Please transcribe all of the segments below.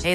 Hey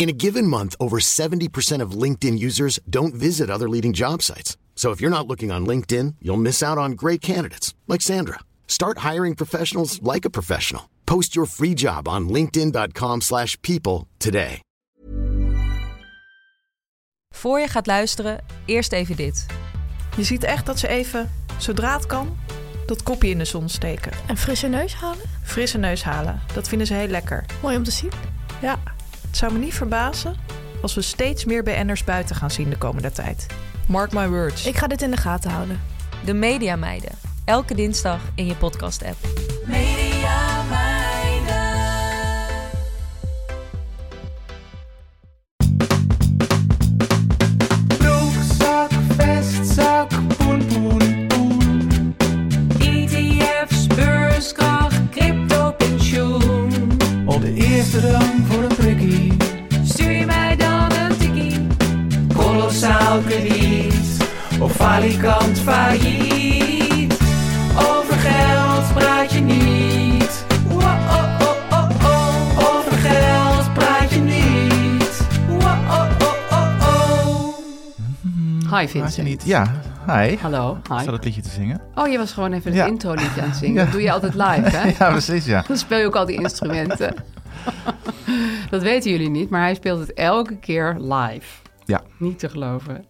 In a given month, over 70% of LinkedIn users don't visit other leading job sites. So if you're not looking on LinkedIn, you'll miss out on great candidates like Sandra. Start hiring professionals like a professional. Post your free job on linkedin.com/people slash people today. Voor je gaat luisteren, eerst even dit. Je ziet echt dat ze even, zodra het kan, dat kopje in de zon steken. En frisse neus halen? Frisse neus halen. Dat vinden ze heel lekker. Mooi om te zien. Ja, het zou me niet verbazen als we steeds meer BN'ers buiten gaan zien de komende tijd. Mark my words. Ik ga dit in de gaten houden. De Media Meiden. Elke dinsdag in je podcast-app. Broekzak, vestzak, poen, poen, poen. E ETF's, beurskracht, crypto, pensioen. Op de eerste rang voor een prikkie. Stuur je mij dan een tikkie. Kolossaal krediet. Of falikant failliet. Over geld praat je niet. Wa-oh-oh-oh-oh. Over geld praat je niet. Wa-oh-oh-oh-oh. Hi Had je Vincent. niet? Ja, hi. Ik Hallo, hi. zat het liedje te zingen. Oh, je was gewoon even het Ja. intro-liedje aan het zingen. Ja. Dat doe je altijd live, hè? Ja, precies, ja. Dan speel je ook al die instrumenten. dat weten jullie niet, maar hij speelt het elke keer live. Ja. Niet te geloven.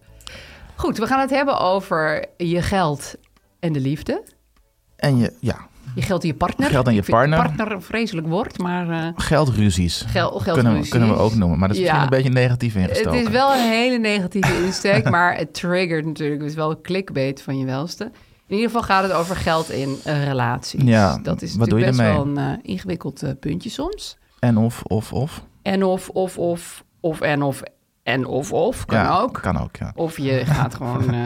Goed, we gaan het hebben over je geld en de liefde. En je, ja, Je geld en je partner. Geld en je Ik vind partner. partner een vreselijk woord, maar eh, geldruzies. gel- geld Kunnen we, kunnen we ook noemen, maar dat is Ja. misschien een beetje negatief Het ingestoken. is wel een hele negatieve insteek, maar het triggert natuurlijk. Het is wel een clickbait van je welste. In ieder geval gaat het over geld in eh, relaties. Ja, dat is wat doe je natuurlijk best ermee? wel een eh, ingewikkeld eh, puntje soms. En of, of, of. En of, of, of, of, en of, en of, of, kan ja, ook. Kan ook, ja. Of je gaat gewoon eh,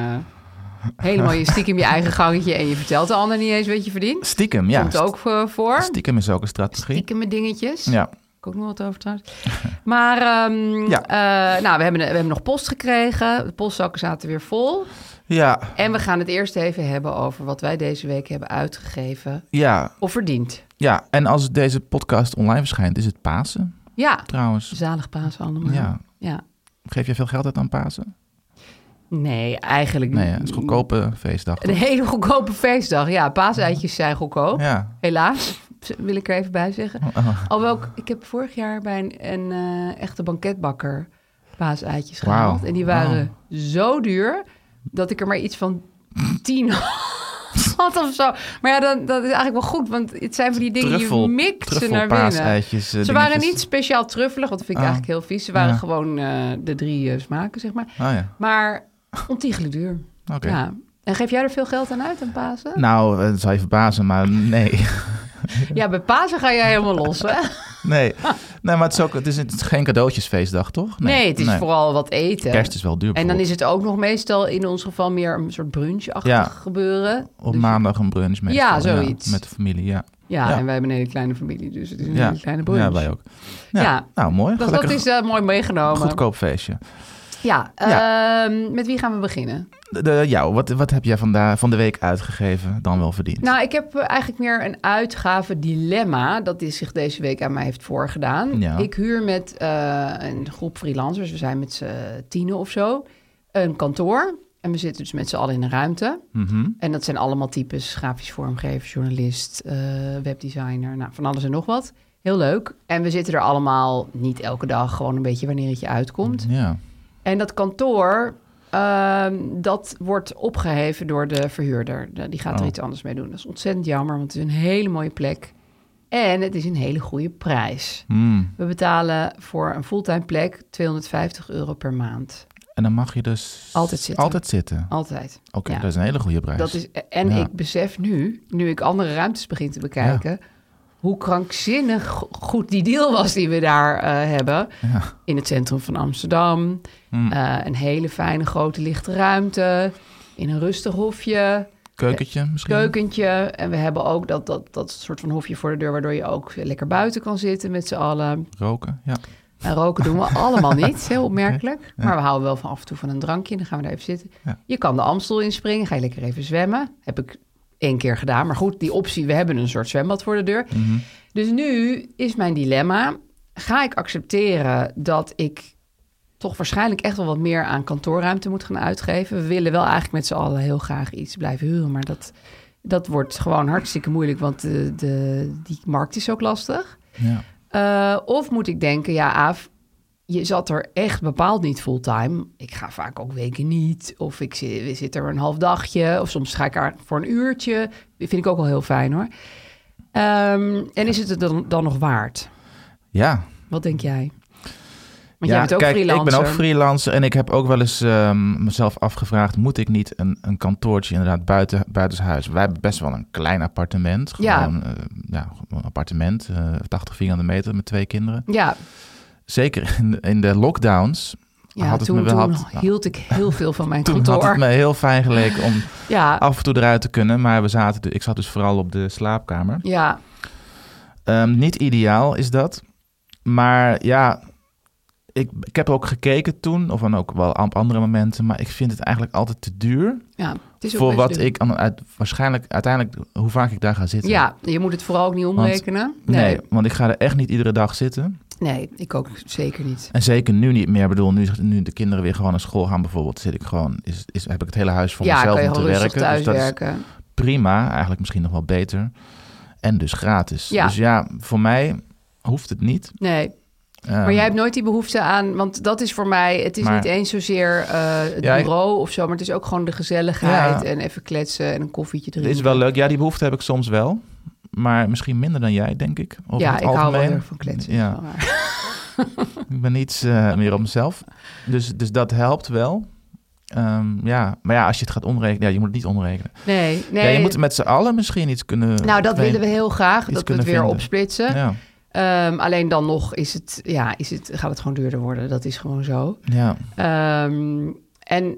helemaal je stiekem je eigen gangetje en je vertelt de ander niet eens wat je verdient. Stiekem, ja. Komt ook eh, voor. Stiekem is ook een strategie. Stiekeme dingetjes. Ja, Ik ook nog wat over trouwens. Maar ehm, Ja. eh, nou, we, hebben, we hebben nog post gekregen. De postzakken zaten weer vol. ja, En we gaan het eerst even hebben over wat wij deze week hebben uitgegeven ja, of verdiend. ja. En als deze podcast online verschijnt, is het Pasen Ja, trouwens. zalig paas allemaal. Ja. ja. Geef jij veel geld uit aan Pasen? Nee, eigenlijk Nee, hè, het is een goedkope feestdag. Een hele goedkope feestdag. Ja, paaseitjes zijn goedkoop. Ja, Helaas, wil ik er even bij zeggen. Oh, Alhoewel, ik- ik heb vorig jaar bij een, een eh, echte banketbakker paaseitjes Wauw. gehaald. En die waren zo duur dat ik er maar iets van tien had of zo. Maar ja, dan, dat is eigenlijk wel goed, want het zijn van die dingen, truffel, je mikt ze naar binnen. truffelpaaseitjes. eh, Ze waren dingetjes. niet speciaal truffelig, want dat vind ik Ah. eigenlijk heel vies. Ze waren Ja. gewoon eh, de drie eh, smaken, zeg maar. Oh ja, Maar ontiegelijk duur. oké. Ja. En geef jij er veel geld aan uit aan Pasen? Nou, eh, het zal je verbazen, maar nee. Ja, bij Pasen ga jij helemaal los, hè? Nee, nee maar het is, ook, het, is, het is geen cadeautjesfeestdag, toch? Nee, het is vooral wat eten. Kerst is wel duur. en dan is bijvoorbeeld. het ook nog meestal in ons geval meer een soort brunchachtig Ja. gebeuren. Op Dus- maandag een brunch meestal. Ja, zoiets. met de familie, ja. Ja, Ja. en wij hebben een hele kleine familie, dus het is een ja. hele kleine brunch. Ja, wij ook. Ja, Ja. Nou, mooi. Dus dat Gelukkig is eh, mooi meegenomen. goedkoop feestje. Ja, ehm, met wie gaan we beginnen? De, de- ja, wat, wat heb jij vandaag van de week uitgegeven dan wel verdiend? Nou, ik heb eh, eigenlijk meer een uitgave dilemma dat is zich deze week aan mij heeft voorgedaan. Ja. Ik huur met eh, een groep freelancers, we zijn met z'n tienen of zo, een kantoor. En we zitten dus met z'n allen in een ruimte. Mhm. En dat zijn allemaal types, grafisch vormgever, journalist, eh, webdesigner, nou, van alles en nog wat. Heel leuk. En we zitten er allemaal, niet elke dag, gewoon een beetje wanneer het je uitkomt. Ja, En dat kantoor Ehm, dat wordt opgeheven door de verhuurder. De- Die gaat er Oh. iets anders mee doen. Dat is ontzettend jammer, want het is een hele mooie plek. En het is een hele goede prijs. Hmm. We betalen voor een fulltime plek 250 euro per maand. En dan mag je dus... Altijd zitten. Altijd zitten. Altijd. Oké, Ja. dat is een hele goede prijs. Dat is, en Ja. ik besef nu, nu ik andere ruimtes begin te bekijken, hoe krankzinnig go- goed die deal was die we daar eh, hebben. Ja. In het centrum van Amsterdam. Hmm. Eh, een hele fijne grote lichte ruimte. In een rustig hofje, Keukentje misschien? keukentje. En we hebben ook dat, dat, dat soort van hofje voor de deur, waardoor je ook lekker buiten kan zitten met z'n allen. Roken, ja. En Nou, roken doen we allemaal niet, heel opmerkelijk. Maar we houden wel van af en toe van een drankje en dan gaan we daar even zitten. Ja. Je kan de Amstel inspringen, ga je lekker even zwemmen. Heb ik één keer gedaan, maar goed, die optie, we hebben een soort zwembad voor de deur. Dus nu is mijn dilemma, ga ik accepteren dat ik toch waarschijnlijk echt wel wat meer aan kantoorruimte moet gaan uitgeven. We willen wel eigenlijk met z'n allen heel graag iets blijven huren, maar dat, dat wordt gewoon hartstikke moeilijk, want de, de, die markt is ook lastig. ja. Eh, of moet ik denken, ja, Aaf, je zat er echt bepaald niet fulltime. Ik ga vaak ook weken niet. Of ik zit, zit er een half dagje. Of soms ga ik er voor een uurtje. Dat vind ik ook wel heel fijn hoor. Ehm, en is het het dan, dan nog waard? Ja, Wat denk jij? Want ja, jij bent ook kijk, freelancer. Ik ben ook freelancer en ik heb ook wel eens ehm, mezelf afgevraagd: moet ik niet een, een kantoortje inderdaad buiten buitenshuis? Wij hebben best wel een klein appartement. Ja. Gewoon, eh, ja, gewoon een appartement, eh 80 vierkante meter met twee kinderen. Ja, Zeker in de, in de lockdowns ja had het toen, me wel toen had- hield ik heel veel van mijn toen kantoor. had het me heel fijn geleken om Ja, af en toe eruit te kunnen. Maar we zaten, ik zat dus vooral op de slaapkamer. ja, Ehm, niet ideaal is dat. Maar ja, ik, ik heb ook gekeken toen, of dan ook wel op andere momenten. Maar ik vind het eigenlijk altijd te duur. ja. Het is ook voor best wat duur. ik aan- uit, waarschijnlijk uiteindelijk, hoe vaak ik daar ga zitten. Ja, je moet het vooral ook niet omrekenen. Nee. Nee, want ik ga er echt niet iedere dag zitten. nee, ik ook zeker niet. En zeker nu niet meer. Ik bedoel, nu, nu de kinderen weer gewoon naar school gaan bijvoorbeeld, zit ik gewoon, is, is, heb ik het hele huis voor Ja, mezelf kan je om te gewoon rustig werken. thuis dus dat is werken. prima, eigenlijk misschien nog wel beter. En dus gratis. Ja. Dus ja, voor mij hoeft het niet. Nee, Ehm, maar jij hebt nooit die behoefte aan, want dat is voor mij, het is maar- niet eens zozeer eh, het Ja, ik- bureau of zo, maar het is ook gewoon de gezelligheid Ja. en even kletsen en een koffietje Het drinken. is wel leuk. Ja, die behoefte heb ik soms wel. Maar misschien minder dan jij, denk ik. Over ja, het ik hou wel algemeen. heel erg van kletsen. Ja. dat is wel waar. Ik ben iets eh, meer op mezelf. Dus, dus dat helpt wel. Ehm, ja, maar ja, als je het gaat omrekenen... Ja, je moet het niet omrekenen. Nee, nee. Ja, je moet met z'n allen misschien iets kunnen... nou, dat twee- willen we heel graag, dat we het kunnen weer vinden. opsplitsen. Ja, Ehm, alleen dan nog is het, ja, is het, gaat het gewoon duurder worden. Dat is gewoon zo. ja. Ehm, en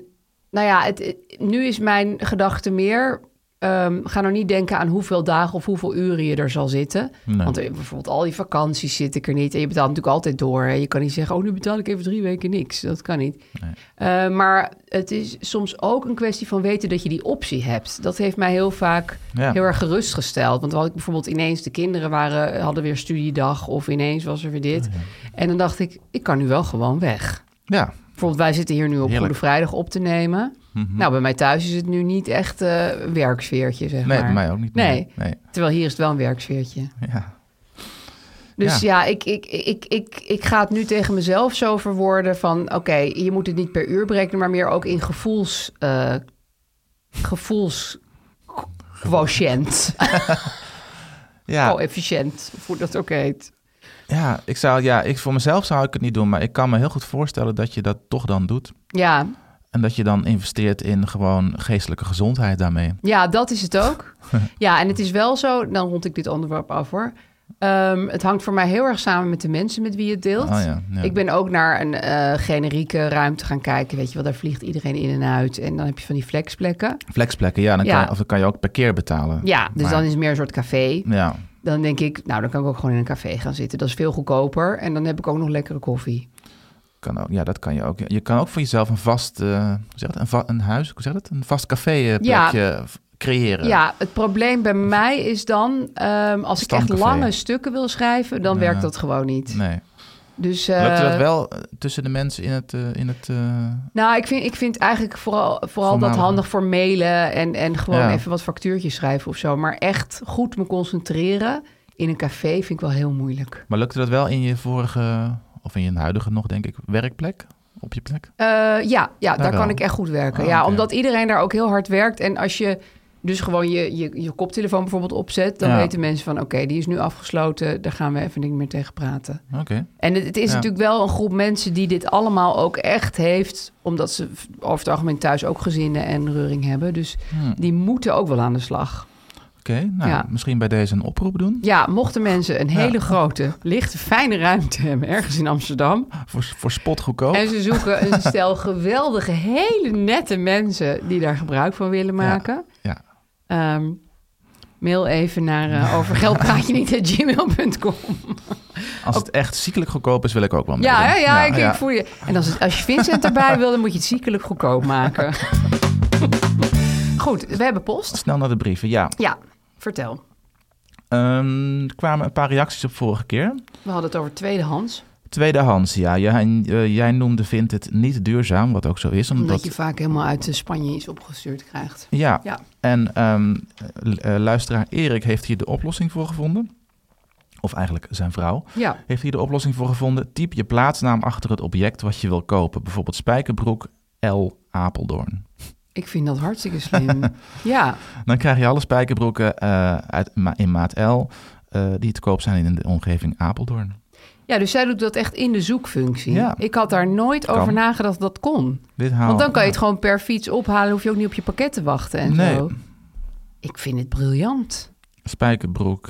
nou ja, het, het- nu is mijn gedachte meer. ehm, ga nou niet denken aan hoeveel dagen of hoeveel uren je er zal zitten. Nee. Want eh, bijvoorbeeld al die vakanties zit ik er niet. En je betaalt natuurlijk altijd door. Hè. Je kan niet zeggen, oh, nu betaal ik even drie weken niks. Dat kan niet. Eh, maar het is soms ook een kwestie van weten dat je die optie hebt. Dat heeft mij heel vaak Ja. heel erg gerustgesteld. Want dan had ik bijvoorbeeld ineens de kinderen waren, hadden weer studiedag of ineens was er weer Oh, dit. En dan dacht ik, ik kan nu wel gewoon weg. ja. Bijvoorbeeld, wij zitten hier nu op Heerlijk. Mhm. Goede Vrijdag op te nemen. Nou, bij mij thuis is het nu niet echt eh, een werksfeertje, zeg Nee, maar. bij mij ook niet. Nee. nee. Terwijl hier is het wel een werksfeertje. Ja. Dus ja, ik, ik, ik, ik, ik ga het nu tegen mezelf zo verwoorden van... oké, je moet het niet per uur berekenen, maar meer ook in gevoels... eh gevoels... Quotient. Ja. Oh, efficiënt. Of hoe dat ook heet. ja, ik zou... Ja, ik, voor mezelf zou ik het niet doen. Maar ik kan me heel goed voorstellen dat je dat toch dan doet. Ja, En dat je dan investeert in gewoon geestelijke gezondheid daarmee. Ja, dat is het ook. ja, en het is wel zo, dan rond ik dit onderwerp af hoor. Ehm, het hangt voor mij heel erg samen met de mensen met wie je het deelt. Oh ja, ja. Ik ben ook naar een eh, generieke ruimte gaan kijken. Weet je wel, daar vliegt iedereen in en uit. En dan heb je van die flexplekken. Flexplekken, ja. Dan Ja. Kan, of dan kan je ook per keer betalen. Ja, dus Maar- dan is het meer een soort café. Ja, Dan denk ik, nou, dan kan ik ook gewoon in een café gaan zitten. Dat is veel goedkoper. En dan heb ik ook nog lekkere koffie. kan ook, ja, dat kan je ook. Je kan ook voor jezelf een vast, eh, hoe zeg je dat? Een, va- een huis, hoe zeg je dat? Een vast café eh, Ja. plekje v- creëren. Ja, het probleem bij mij is dan... ehm, als ik echt Stamcafé. lange stukken wil schrijven, dan werkt dat gewoon niet. Nee. Dus, Lukt eh, dat wel eh, tussen de mensen in het... eh, in het eh, Nou, ik vind, ik vind eigenlijk vooral, vooral dat Voormalig. handig voor mailen en, en gewoon Ja. even wat factuurtjes schrijven of zo. Maar echt goed me concentreren in een café vind ik wel heel moeilijk. maar lukte dat wel in je vorige, of in je huidige nog, denk ik, werkplek? op je plek? Eh, ja, ja daar wel. kan ik echt goed werken. Ah, ja, oké. Omdat iedereen daar ook heel hard werkt. En als je dus gewoon je, je, je koptelefoon bijvoorbeeld opzet... dan Ja. weten mensen van, oké, die is nu afgesloten. Daar gaan we even niet meer tegen praten. Oké. En het, het is Ja. natuurlijk wel een groep mensen die dit allemaal ook echt heeft... omdat ze v- over het algemeen thuis ook gezinnen en reuring hebben. Dus Hm, Oké, die moeten ook wel aan de slag. nou, Ja. misschien bij deze een oproep doen. Ja, mochten mensen een Ja. hele grote, lichte, fijne ruimte hebben... ergens in Amsterdam... Voor, voor spot goedkoop. En ze zoeken een stel geweldige, hele nette mensen die daar gebruik van willen maken. ja. Ehm, mail even naar eh over geldpraatje niet gmail.com. Als het echt ziekelijk goedkoop is, wil ik ook wel meedoen. Ja, hè? ja, ik, ik ja. voel je. En als, het, als je Vincent erbij wil, dan moet je het ziekelijk goedkoop maken. Goed, we hebben post. Snel naar de brieven, ja. Ja, vertel. Ehm, er kwamen een paar reacties op vorige keer. We hadden het over tweedehands. Tweedehands, ja. Jij, eh, jij noemde vindt het niet duurzaam, wat ook zo is. Omdat, Omdat je vaak helemaal uit eh, Spanje iets opgestuurd krijgt. Ja, Ja. en ehm, eh, eh, luisteraar Erik heeft hier de oplossing voor gevonden. Of eigenlijk zijn vrouw. Ja, Heeft hier de oplossing voor gevonden. Typ je plaatsnaam achter het object wat je wil kopen. Bijvoorbeeld Spijkerbroek L. Apeldoorn. ik vind dat hartstikke slim. ja, Dan krijg je alle spijkerbroeken eh, uit, ma- in maat L... eh, die te koop zijn in de omgeving Apeldoorn. Ja, dus zij doet dat echt in de zoekfunctie. Ja. Ik had daar nooit Kan. Oh, over nagedacht dat dat kon. Dit haal- Want dan kan je het gewoon per fiets ophalen. Hoef je ook niet op je pakket te wachten en Nee. zo. Ik vind het briljant. Spijkerbroek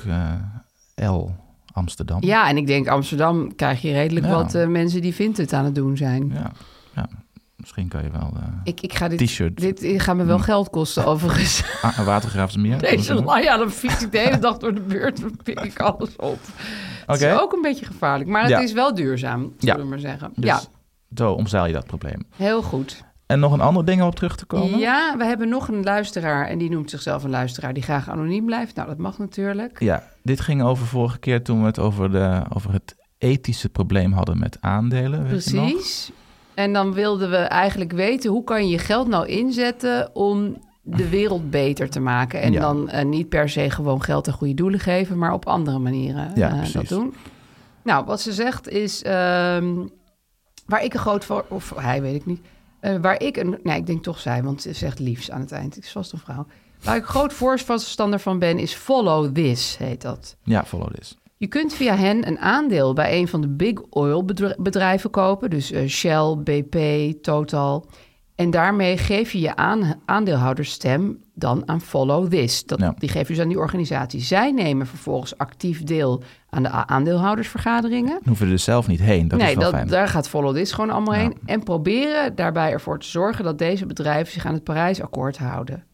eh, L. Amsterdam. Ja, en ik denk Amsterdam krijg je redelijk Ja. wat eh, mensen die vindt het aan het doen zijn. Ja, ja. misschien kan je wel eh, Ik, ik ga dit, t-shirt dit, dit gaat me wel Hm. geld kosten overigens. ah, Watergraafsmeer. Deze Oké. la- ja, dan fiets ik de hele dag door de buurt. Dan pik ik alles op. Het is ook een beetje gevaarlijk. Maar het Ja. is wel duurzaam, zullen we maar zeggen. Dus Ja, Zo omzeil je dat probleem. heel goed. En nog een ander ding om op terug te komen? Ja, we hebben nog een luisteraar en die noemt zichzelf een luisteraar die graag anoniem blijft. Nou, dat mag natuurlijk. Ja, dit ging over vorige keer toen we het over, de, over het ethische probleem hadden met aandelen. weet je nog? Precies. En dan wilden we eigenlijk weten hoe kan je je geld nou inzetten om de wereld beter te maken. En Ja. dan eh, niet per se gewoon geld aan goede doelen geven, maar op andere manieren Ja, eh, dat precies. doen. Nou, wat ze zegt is ehm, waar ik een groot voor, of hij weet ik niet. Eh, waar ik een, nee, ik denk toch zij, want ze zegt liefst aan het eind. Het is vast een vrouw. Waar ik groot voorstander van ben, is follow this, heet dat. Ja, follow this. Je kunt via hen een aandeel bij een van de big oil bedr- bedrijven kopen, dus eh, Shell, BP, Total. En daarmee geef je je aan, aandeelhoudersstem dan aan Follow This. Dat, Ja. Die geef je dus aan die organisatie. Zij nemen vervolgens actief deel aan de a- aandeelhoudersvergaderingen. Dan hoeven we er dus zelf niet heen. Dat nee, is wel fijn. daar gaat Follow This gewoon allemaal Ja. heen. En proberen daarbij ervoor te zorgen dat deze bedrijven zich aan het Parijsakkoord houden.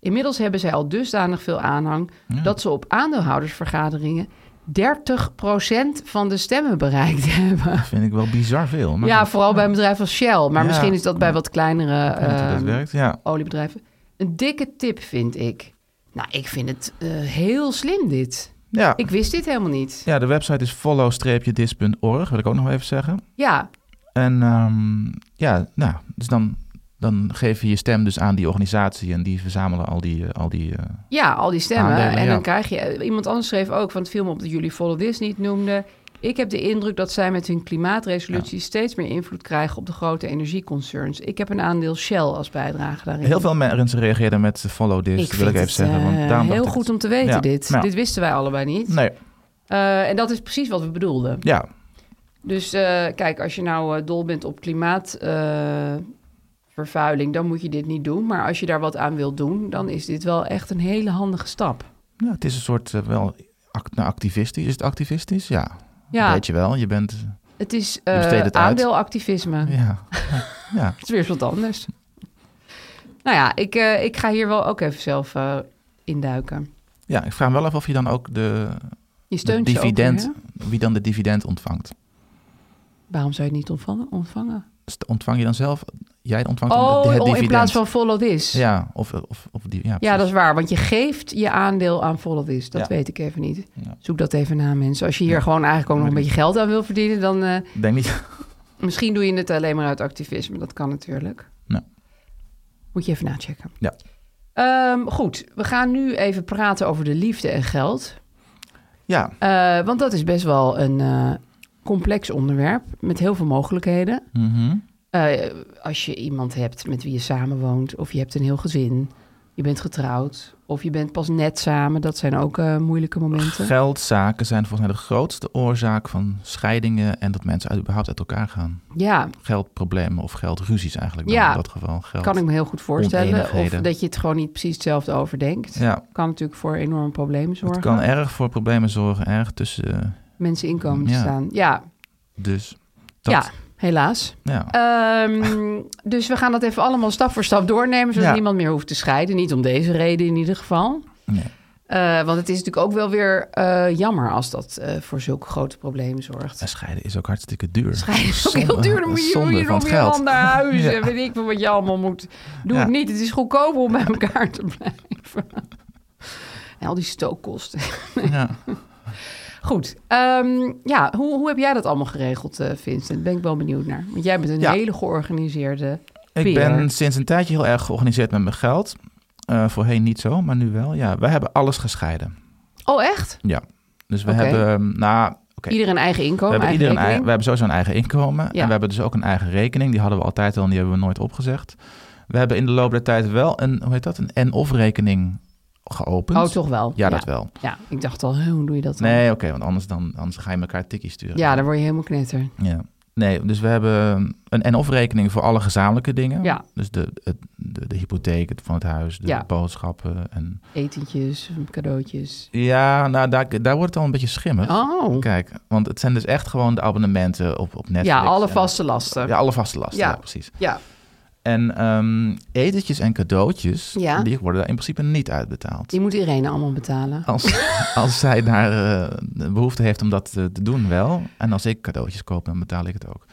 Inmiddels hebben zij al dusdanig veel aanhang Ja. dat ze op aandeelhoudersvergaderingen 30% van de stemmen bereikt hebben. vind ik wel bizar veel. Maar ja, goed, vooral bij een bedrijf als Shell. Ja. Maar misschien is dat bij wat kleinere ik weet niet hoe dat ehm, werkt. Ja. oliebedrijven. Een dikke tip vind ik. Nou, ik vind het eh, heel slim dit. Ja. Ik wist dit helemaal niet. ja, de website is follow-this.org, wil ik ook nog even zeggen. Ja, En ehm, ja, nou, dus dan, dan geef je je stem dus aan die organisatie en die verzamelen al die... eh, al die eh, ja al die stemmen. Aandelen, en ja. dan krijg je... Iemand anders schreef ook van het film op dat jullie Follow This niet noemden. Ik heb de indruk dat zij met hun klimaatresolutie steeds meer invloed krijgen op de grote energieconcerns. Ik heb een aandeel Shell als bijdrage daarin. heel veel mensen reageerden met eh, follow this, wil vind ik even het, zeggen. eh, Want daarom dacht heel ik- goed om te weten Ja, dit. nou. Dit wisten wij allebei niet. Nee, Eh, en dat is precies wat we bedoelden. ja, Dus eh, kijk, als je nou eh, dol bent op klimaatvervuiling, dan moet je dit niet doen. Maar als je daar wat aan wilt doen, dan is dit wel echt een hele handige stap. Ja, het is een soort eh, wel act, nou, activistisch. Is het activistisch? Ja, Ja, weet je wel. Je bent... het is Je eh, besteedt het uit. aandeelactivisme. Ja. ja. Het is weer eens wat anders. nou ja, ik, eh, ik ga hier wel ook even zelf eh, induiken. ja, ik vraag me wel af of je dan ook de... Je de steunt ze ook weer, dividend, hè? wie dan de dividend ontvangt. Waarom zou je het niet ontvangen? ontvangen? Dus Ontvang je dan zelf... Jij ontvangt dan Oh, de, het oh, dividend. in plaats van follow this. Ja, of, of, of die... Ja, Ja, dat precies. is waar. Want je geeft je aandeel aan Follow This. Dat Ja. weet ik even niet. Ja. Zoek dat even na, mensen. Als je hier Ja. gewoon eigenlijk ook nog een beetje geld aan wil verdienen... dan eh, Ik Denk niet... misschien doe je het alleen maar uit activisme. Dat kan natuurlijk. Ja. Moet je even nachecken. Ja. Ehm, goed, we gaan nu even praten over de liefde en geld. Ja. Eh, want dat is best wel een eh, complex onderwerp met heel veel mogelijkheden. mhm. Eh, Eh, als je iemand hebt met wie je samenwoont, of je hebt een heel gezin, je bent getrouwd, of je bent pas net samen, dat zijn ook eh, moeilijke momenten. Geldzaken zijn volgens mij de grootste oorzaak van scheidingen en dat mensen uit, überhaupt uit elkaar gaan. ja, Geldproblemen of geldruzies eigenlijk dan Ja, in dat geval. Geld. kan ik me heel goed voorstellen. Of oneenigheden. dat je het gewoon niet precies hetzelfde overdenkt. Ja, Kan natuurlijk voor enorme problemen het zorgen. kan erg voor problemen zorgen, erg tussen. eh, Mensen inkomen te Ja. staan. Ja, dus dat, ja helaas. ja. Ehm, dus we gaan dat even allemaal stap voor stap doornemen, zodat Ja. niemand meer hoeft te scheiden. Niet om deze reden in ieder geval. Nee. Eh, want het is natuurlijk ook wel weer eh, jammer als dat eh, voor zulke grote problemen zorgt. En scheiden is ook hartstikke duur. Scheiden is ook Zonde- heel duur. Dan moet je, zonde moet je van nog het je geld. hand naar huis. Ja. En weet ik veel wat je allemaal moet. Doe Ja. het niet. Het is goedkoper om bij elkaar te blijven. En al die stookkosten. Ja. Goed. ehm, ja, hoe, hoe heb jij dat allemaal geregeld, eh, Vincent? Ben ik wel benieuwd naar. Want jij bent een Ja. hele georganiseerde... Ik Peer. ben sinds een tijdje heel erg georganiseerd met mijn geld. Eh, voorheen niet zo, maar nu wel. Ja, wij hebben alles gescheiden. Oh, echt? Dus we Oké. hebben, ehm, nou, oké, Ieder een eigen we inkomen, hebben, eigen ieder een ei- rekening. we hebben sowieso een eigen inkomen. Ja. En we hebben dus ook een eigen rekening. Die hadden we altijd al en die hebben we nooit opgezegd. We hebben in de loop der tijd wel een, hoe heet dat, een en-of rekening geopend. Oh, toch wel? Ja, dat wel. Ja, ik dacht al, hè, hoe doe je dat dan? Nee, oké, want anders, dan, anders ga je elkaar tikkie sturen. Ja, dan word je helemaal knetter. Ja. Nee, dus we hebben een en-of rekening voor alle gezamenlijke dingen. Ja. Dus de, het, de, de hypotheek het- van het huis, de Ja. boodschappen. En... Etentjes, cadeautjes. Ja, nou daar, daar wordt het al een beetje schimmig. Oh, Kijk, want het zijn dus echt gewoon de abonnementen op, op Netflix. ja, alle en- vaste lasten. Ja, alle vaste lasten, Ja. ja, precies. Ja. En ehm, etentjes en cadeautjes, Ja. die worden daar in principe niet uitbetaald. Die moet Irene allemaal betalen. Als, als zij daar eh, de behoefte heeft om dat eh, te doen, wel. En als ik cadeautjes koop, dan betaal ik het ook.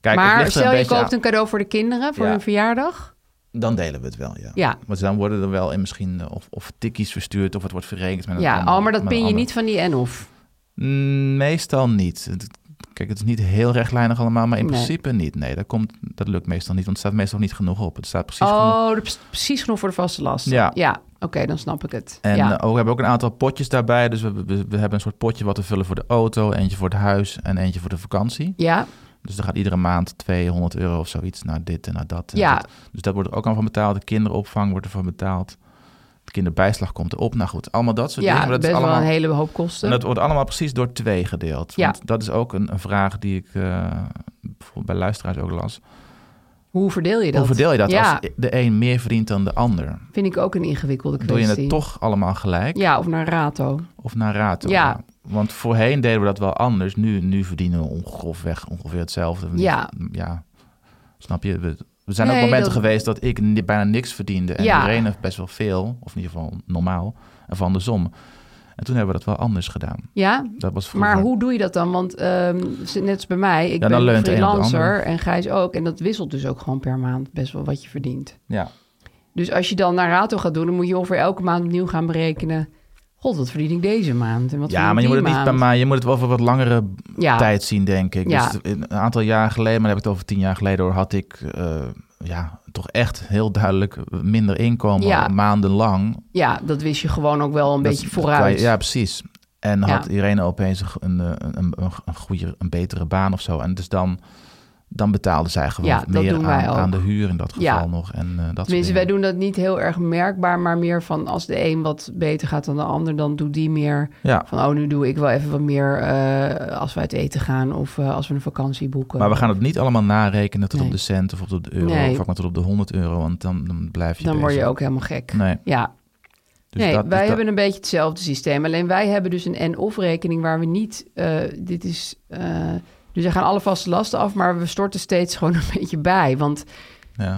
Kijk, het maar ligt er stel een je beetje koopt aan- een cadeau voor de kinderen, voor Ja. hun verjaardag. Dan delen we het wel, ja. Ja, Want dan worden er wel in misschien eh, of, of tikkies verstuurd of het wordt verrekend. Met een ja. ander- Oh, maar dat met een pin je ander. niet van die en-of. Mm, Meestal niet. Het- Kijk, het is niet heel rechtlijnig allemaal, maar in Nee. principe niet. Nee, dat, komt, dat lukt meestal niet, want het staat meestal niet genoeg op. Het staat precies genoeg. Oh, dat is precies genoeg voor de vaste last. Ja. oké, dan snap ik het. En ja. eh, ook, we hebben ook een aantal potjes daarbij. Dus we, we, we hebben een soort potje wat te vullen voor de auto, eentje voor het huis en eentje voor de vakantie. ja, Dus dan gaat iedere maand 200 euro of zoiets naar dit en naar dat. en Ja. dat. Dus dat wordt er ook allemaal van betaald. De kinderopvang wordt ervan betaald. De kinderbijslag komt erop. Nou goed, allemaal dat soort dingen. ja Maar dat best is wel allemaal een hele hoop kosten. En dat wordt allemaal precies door twee gedeeld. Ja. Want dat is ook een, een vraag die ik eh, bijvoorbeeld bij luisteraars ook las. Hoe verdeel je dat? Hoe verdeel je dat Ja, als de een meer verdient dan de ander? vind ik ook een ingewikkelde Doe kwestie. je het toch allemaal gelijk Ja, of naar rato. of naar rato? Ja. Want voorheen deden we dat wel anders. Nu, nu verdienen we ongeveer, ongeveer hetzelfde. Ja. ja. Snap je? We, er zijn Nee, ook momenten dat- geweest dat ik ni- bijna niks verdiende. En Ja. iedereen heeft best wel veel, of in ieder geval normaal, en van de som. En toen hebben we dat wel anders gedaan. Ja, Dat was vroeger. maar hoe doe je dat dan? Want ehm, z- net als bij mij, ik Ja, dan ben leunt de een op de freelancer ander. en Gijs ook. En dat wisselt dus ook gewoon per maand best wel wat je verdient. Ja. Dus als je dan naar rato gaat doen, dan moet je ongeveer elke maand opnieuw gaan berekenen. God, wat verdien ik deze maand? En wat ja, maar je verdien moet het ik die niet bij maand? mij. Je moet het wel voor wat langere ja. tijd zien, denk ik. Ja. Dus een aantal jaar geleden, maar dan heb ik het over tien jaar geleden, hoor, had ik eh, ja, toch echt heel duidelijk minder inkomen, Ja. maandenlang. Ja, dat wist je gewoon ook wel een Dat- beetje dat vooruit. kan- ja, precies. En Ja. had Irene opeens een, eh, een, een, een goede, een betere baan of zo. En dus dan, dan betaalde zij gewoon Ja, dat meer doen aan, wij ook. aan de huur in dat geval Ja. nog. En, eh, dat soort Tenminste, wij dingen. doen dat niet heel erg merkbaar, maar meer van als de een wat beter gaat dan de ander, dan doet die meer Ja. van, oh, nu doe ik wel even wat meer eh, als we uit eten gaan of eh, als we een vakantie boeken. Maar we gaan het niet allemaal narekenen tot Nee. op de cent of tot op de euro Nee. of ook maar tot op de 100 euro, want dan, dan blijf je dan word je bezig. ook helemaal gek. Nee, Ja, dus nee, dat, dus wij dat- hebben een beetje hetzelfde systeem. Alleen wij hebben dus een en-of rekening waar we niet. eh, dit is. eh, dus we gaan alle vaste lasten af, maar we storten steeds gewoon een beetje bij. Want ja.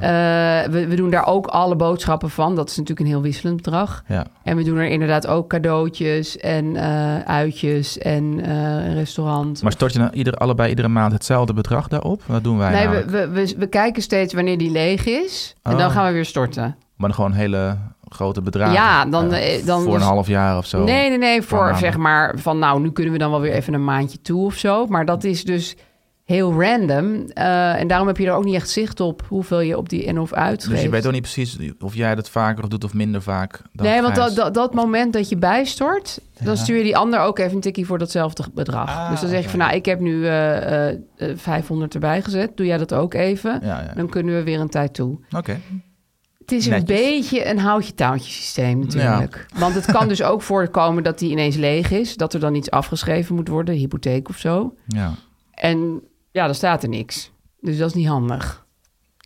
eh, we, we doen daar ook alle boodschappen van. Dat is natuurlijk een heel wisselend bedrag. Ja. En we doen er inderdaad ook cadeautjes en eh, uitjes en eh, een restaurant. Maar stort je nou ieder, allebei iedere maand hetzelfde bedrag daarop? Dat doen wij nou? nee, we, namelijk. we, we, we kijken steeds wanneer die leeg is. En dan Oh. gaan we weer storten. Maar gewoon hele grote bedragen. Ja, dan- Eh, eh, dan- voor een half jaar of zo. Nee, nee, nee. Voor maanden. zeg maar van nou, nu kunnen we dan wel weer even een maandje toe of zo. Maar dat is dus heel random. Eh, en daarom heb je er ook niet echt zicht op hoeveel je op die in of uitgeeft. Dus je weet ook niet precies of jij dat vaker doet of minder vaak. Dan nee, want Gijs. dat, dat, dat moment dat je bijstort, Ja. dan stuur je die ander ook even een tikkie voor datzelfde bedrag. Ah, dus dan zeg je van, oké. nou, ik heb nu eh, eh, eh, 500 erbij gezet. Doe jij dat ook even? Ja, ja. Dan kunnen we weer een tijd toe. Oké. Het is een Netjes. beetje een houtje-touwtje systeem natuurlijk. Want het kan dus ook voorkomen dat die ineens leeg is. Dat er dan iets afgeschreven moet worden, hypotheek of zo. Ja. En ja, dan staat er niks. Dus dat is niet handig.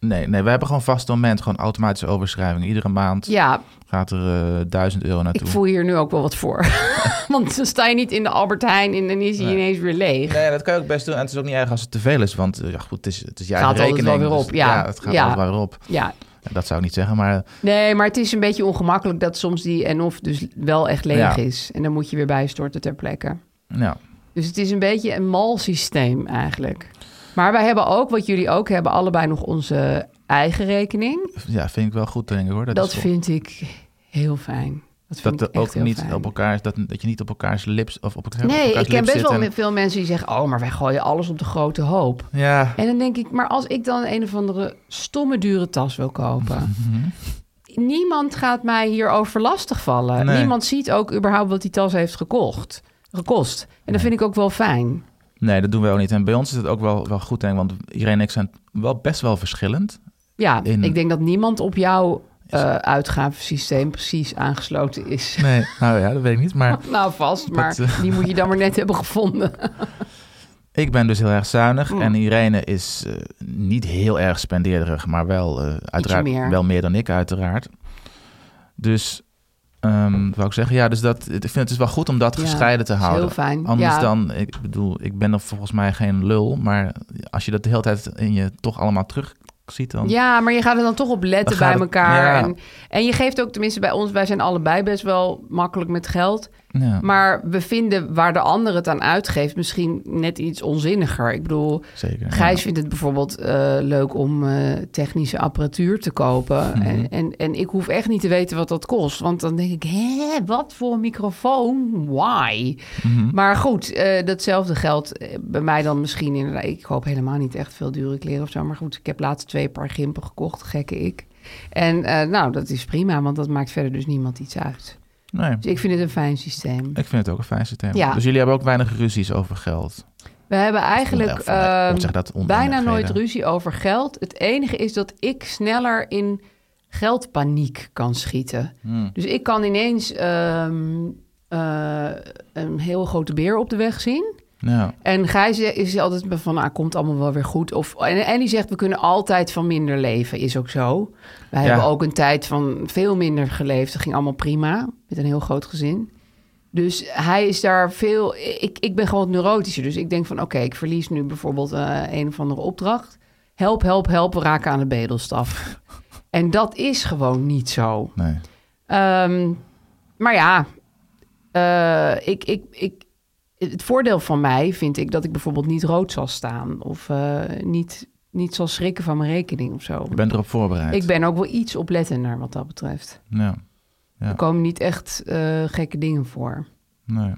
Nee, nee, we hebben gewoon vast moment, gewoon automatische overschrijving. Iedere maand Ja, gaat er eh, 1000 euro naartoe. ik voel hier nu ook wel wat voor. Want dan sta je niet in de Albert Heijn en dan is hij Nee. ineens weer leeg. Nee, dat kan je ook best doen. En het is ook niet erg als het te veel is, want eh, ja, goed, het is, het is je Gaat eigen altijd wel rekening, weer dus op, ja. het gaat Ja. altijd wel weer op. Ja, Ja, Dat zou ik niet zeggen, maar nee, maar het is een beetje ongemakkelijk dat soms die en of dus wel echt leeg Ja. is. En dan moet je weer bijstorten ter plekke. ja. Dus het is een beetje een mal systeem eigenlijk. Maar wij hebben ook, wat jullie ook hebben, allebei nog onze eigen rekening. ja, vind ik wel goed denk ik hoor. Dat, Dat, is wel- vind ik heel fijn. Dat vind dat ik er echt ook heel niet fijn. op elkaar, dat, dat je niet op elkaars lips of op elkaar op Nee, elkaars ik ken lips best wel zit en- met veel mensen die zeggen... oh, maar wij gooien alles op de grote hoop. Ja, En dan denk ik, maar als ik dan een of andere stomme dure tas wil kopen... Mhm. niemand gaat mij hierover lastigvallen. Nee. Niemand ziet ook überhaupt wat die tas heeft gekocht, gekost. En dat vind ik ook wel fijn. nee, dat doen we ook niet. En bij ons is het ook wel, wel goed denk ik, want iedereen en ik zijn wel best wel verschillend. Ja, In- ik denk dat niemand op jouw eh uitgavensysteem precies aangesloten is. Nee, nou ja, dat weet ik niet, maar... nou, vast, maar Dat, eh, die moet je dan maar net hebben gevonden. Ik ben dus heel erg zuinig Mm. en Irene is eh, niet heel erg spendeerderig, maar wel, eh, uiteraard, meer. wel meer dan ik uiteraard. Dus, ehm wat wou ik zeggen, ja, dus dat, ik vind het is wel goed om dat Ja, gescheiden te Dat is houden. heel fijn. Anders ja, dan, ik bedoel, ik ben nog volgens mij geen lul, maar als je dat de hele tijd in je toch allemaal terug ziet, dan... ja, maar je gaat er dan toch op Dan letten bij gaat het- elkaar. ja. En, en je geeft ook, tenminste bij ons, wij zijn allebei best wel makkelijk met geld. Ja, Maar we vinden waar de ander het aan uitgeeft misschien net iets onzinniger. Ik bedoel, zeker. Gijs Ja. vindt het bijvoorbeeld eh, leuk om eh, technische apparatuur te kopen. Mhm. en, en, en ik hoef echt niet te weten wat dat kost. Want dan denk ik, hè, wat voor een microfoon? Why? Mhm. Maar goed, eh, datzelfde geldt eh, bij mij dan misschien inderdaad. Ik koop helemaal niet echt veel dure kleren of zo. Maar goed, ik heb laatst twee paar gimpen gekocht, gekke ik. En eh, nou, dat is prima, want dat maakt verder dus niemand iets uit. Nee, Dus ik vind het een fijn systeem. ik vind het ook een fijn systeem. Ja. Dus jullie hebben ook weinig ruzies over geld. We hebben eigenlijk Of, eh, ehm, hoe zeg je dat? bijna Oneenigheden. nooit ruzie over geld. Het enige is dat ik sneller in geldpaniek kan schieten. Hmm. Dus ik kan ineens ehm, eh, een heel grote beer op de weg zien. Ja. En Gijs is altijd van, nou, komt allemaal wel weer goed. Of, en, en die zegt, we kunnen altijd van minder leven. Is ook zo. Wij Ja. hebben ook een tijd van veel minder geleefd. Dat ging allemaal prima, met een heel groot gezin. Dus hij is daar veel... Ik, ik ben gewoon neurotischer. Dus ik denk van, oké, ik verlies nu bijvoorbeeld eh, een of andere opdracht. Help, help, help, we raken aan de bedelstaf. en dat is gewoon niet zo. Nee. Ehm, maar ja, eh, ik, ik, ik, het voordeel van mij vind ik dat ik bijvoorbeeld niet rood zal staan of eh, niet, niet zal schrikken van mijn rekening of zo. Je bent erop voorbereid. Ik ben ook wel iets oplettender wat dat betreft. Ja. Ja. Er komen niet echt eh, gekke dingen voor. Nee.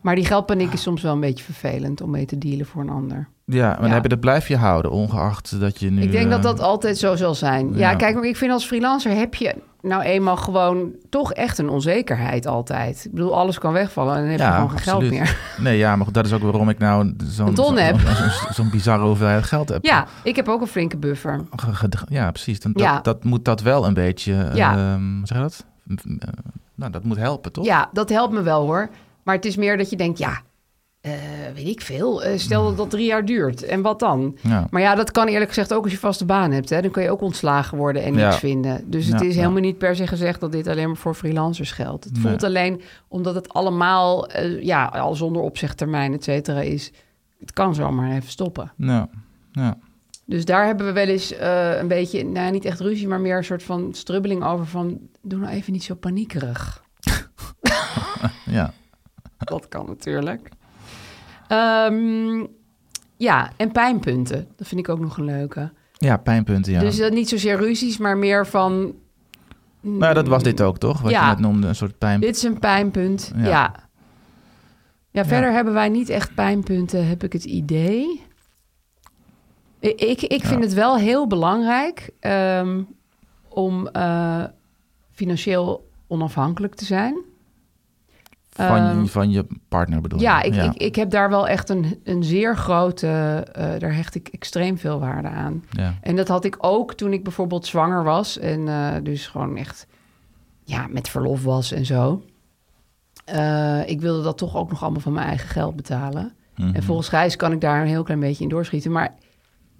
Maar die geldpaniek is soms wel een beetje vervelend om mee te dealen voor een ander. Ja, maar Ja. Heb je, dat blijf je houden, ongeacht dat je nu... ik denk dat eh, dat altijd zo zal zijn. Ja, ja. kijk, maar ik vind als freelancer heb je nou eenmaal gewoon toch echt een onzekerheid altijd. Ik bedoel, alles kan wegvallen en dan heb je gewoon geen absoluut. geld meer. Nee, ja, maar goed, dat is ook waarom ik nou zo'n Een ton zo'n- heb. zo'n- zo'n bizarre hoeveelheid geld heb. Ja, ik heb ook een flinke buffer. Ge- ge- Ja, precies. Dan, dat, Ja. dat moet dat wel een beetje... eh, Ja. ehm, hoe zeg je dat? Eh, nou, dat moet helpen, toch? Ja, dat helpt me wel hoor. Maar het is meer dat je denkt, ja, eh, weet ik veel. Eh, stel dat dat drie jaar duurt en wat dan? Ja. Maar ja, dat kan eerlijk gezegd ook als je vaste baan hebt. Hè? Dan kun je ook ontslagen worden en niks Ja. vinden. Dus het Ja, is ja. helemaal niet per se gezegd dat dit alleen maar voor freelancers geldt. Het Nee. voelt alleen omdat het allemaal, eh, ja, al zonder opzegtermijn, et cetera, is. Het kan zomaar even stoppen. Ja. Ja. Dus daar hebben we wel eens eh, een beetje, nou ja, niet echt ruzie, maar meer een soort van strubbeling over van, doe nou even niet zo paniekerig. ja. Dat kan natuurlijk. Ehm, ja, en pijnpunten. Dat vind ik ook nog een leuke. Ja, pijnpunten, ja. Dus dat niet zozeer ruzies, maar meer van... nou, dat was dit ook, toch? Wat Ja. je net noemde, een soort pijn... Dit is een pijnpunt, ja. Ja. Ja, verder hebben wij niet echt pijnpunten, heb ik het idee. Ik, ik, ik vind het wel heel belangrijk ehm, om eh, financieel onafhankelijk te zijn. Van, Ehm, van je partner bedoel Ja, je? ik, Ik, ik heb daar wel echt een, een zeer grote... eh, daar hecht ik extreem veel waarde aan. Ja. En dat had ik ook toen ik bijvoorbeeld zwanger was. En eh, dus gewoon echt ja, met verlof was en zo. Eh, ik wilde dat toch ook nog allemaal van mijn eigen geld betalen. Mhm. En volgens Gijs kan ik daar een heel klein beetje in doorschieten. Maar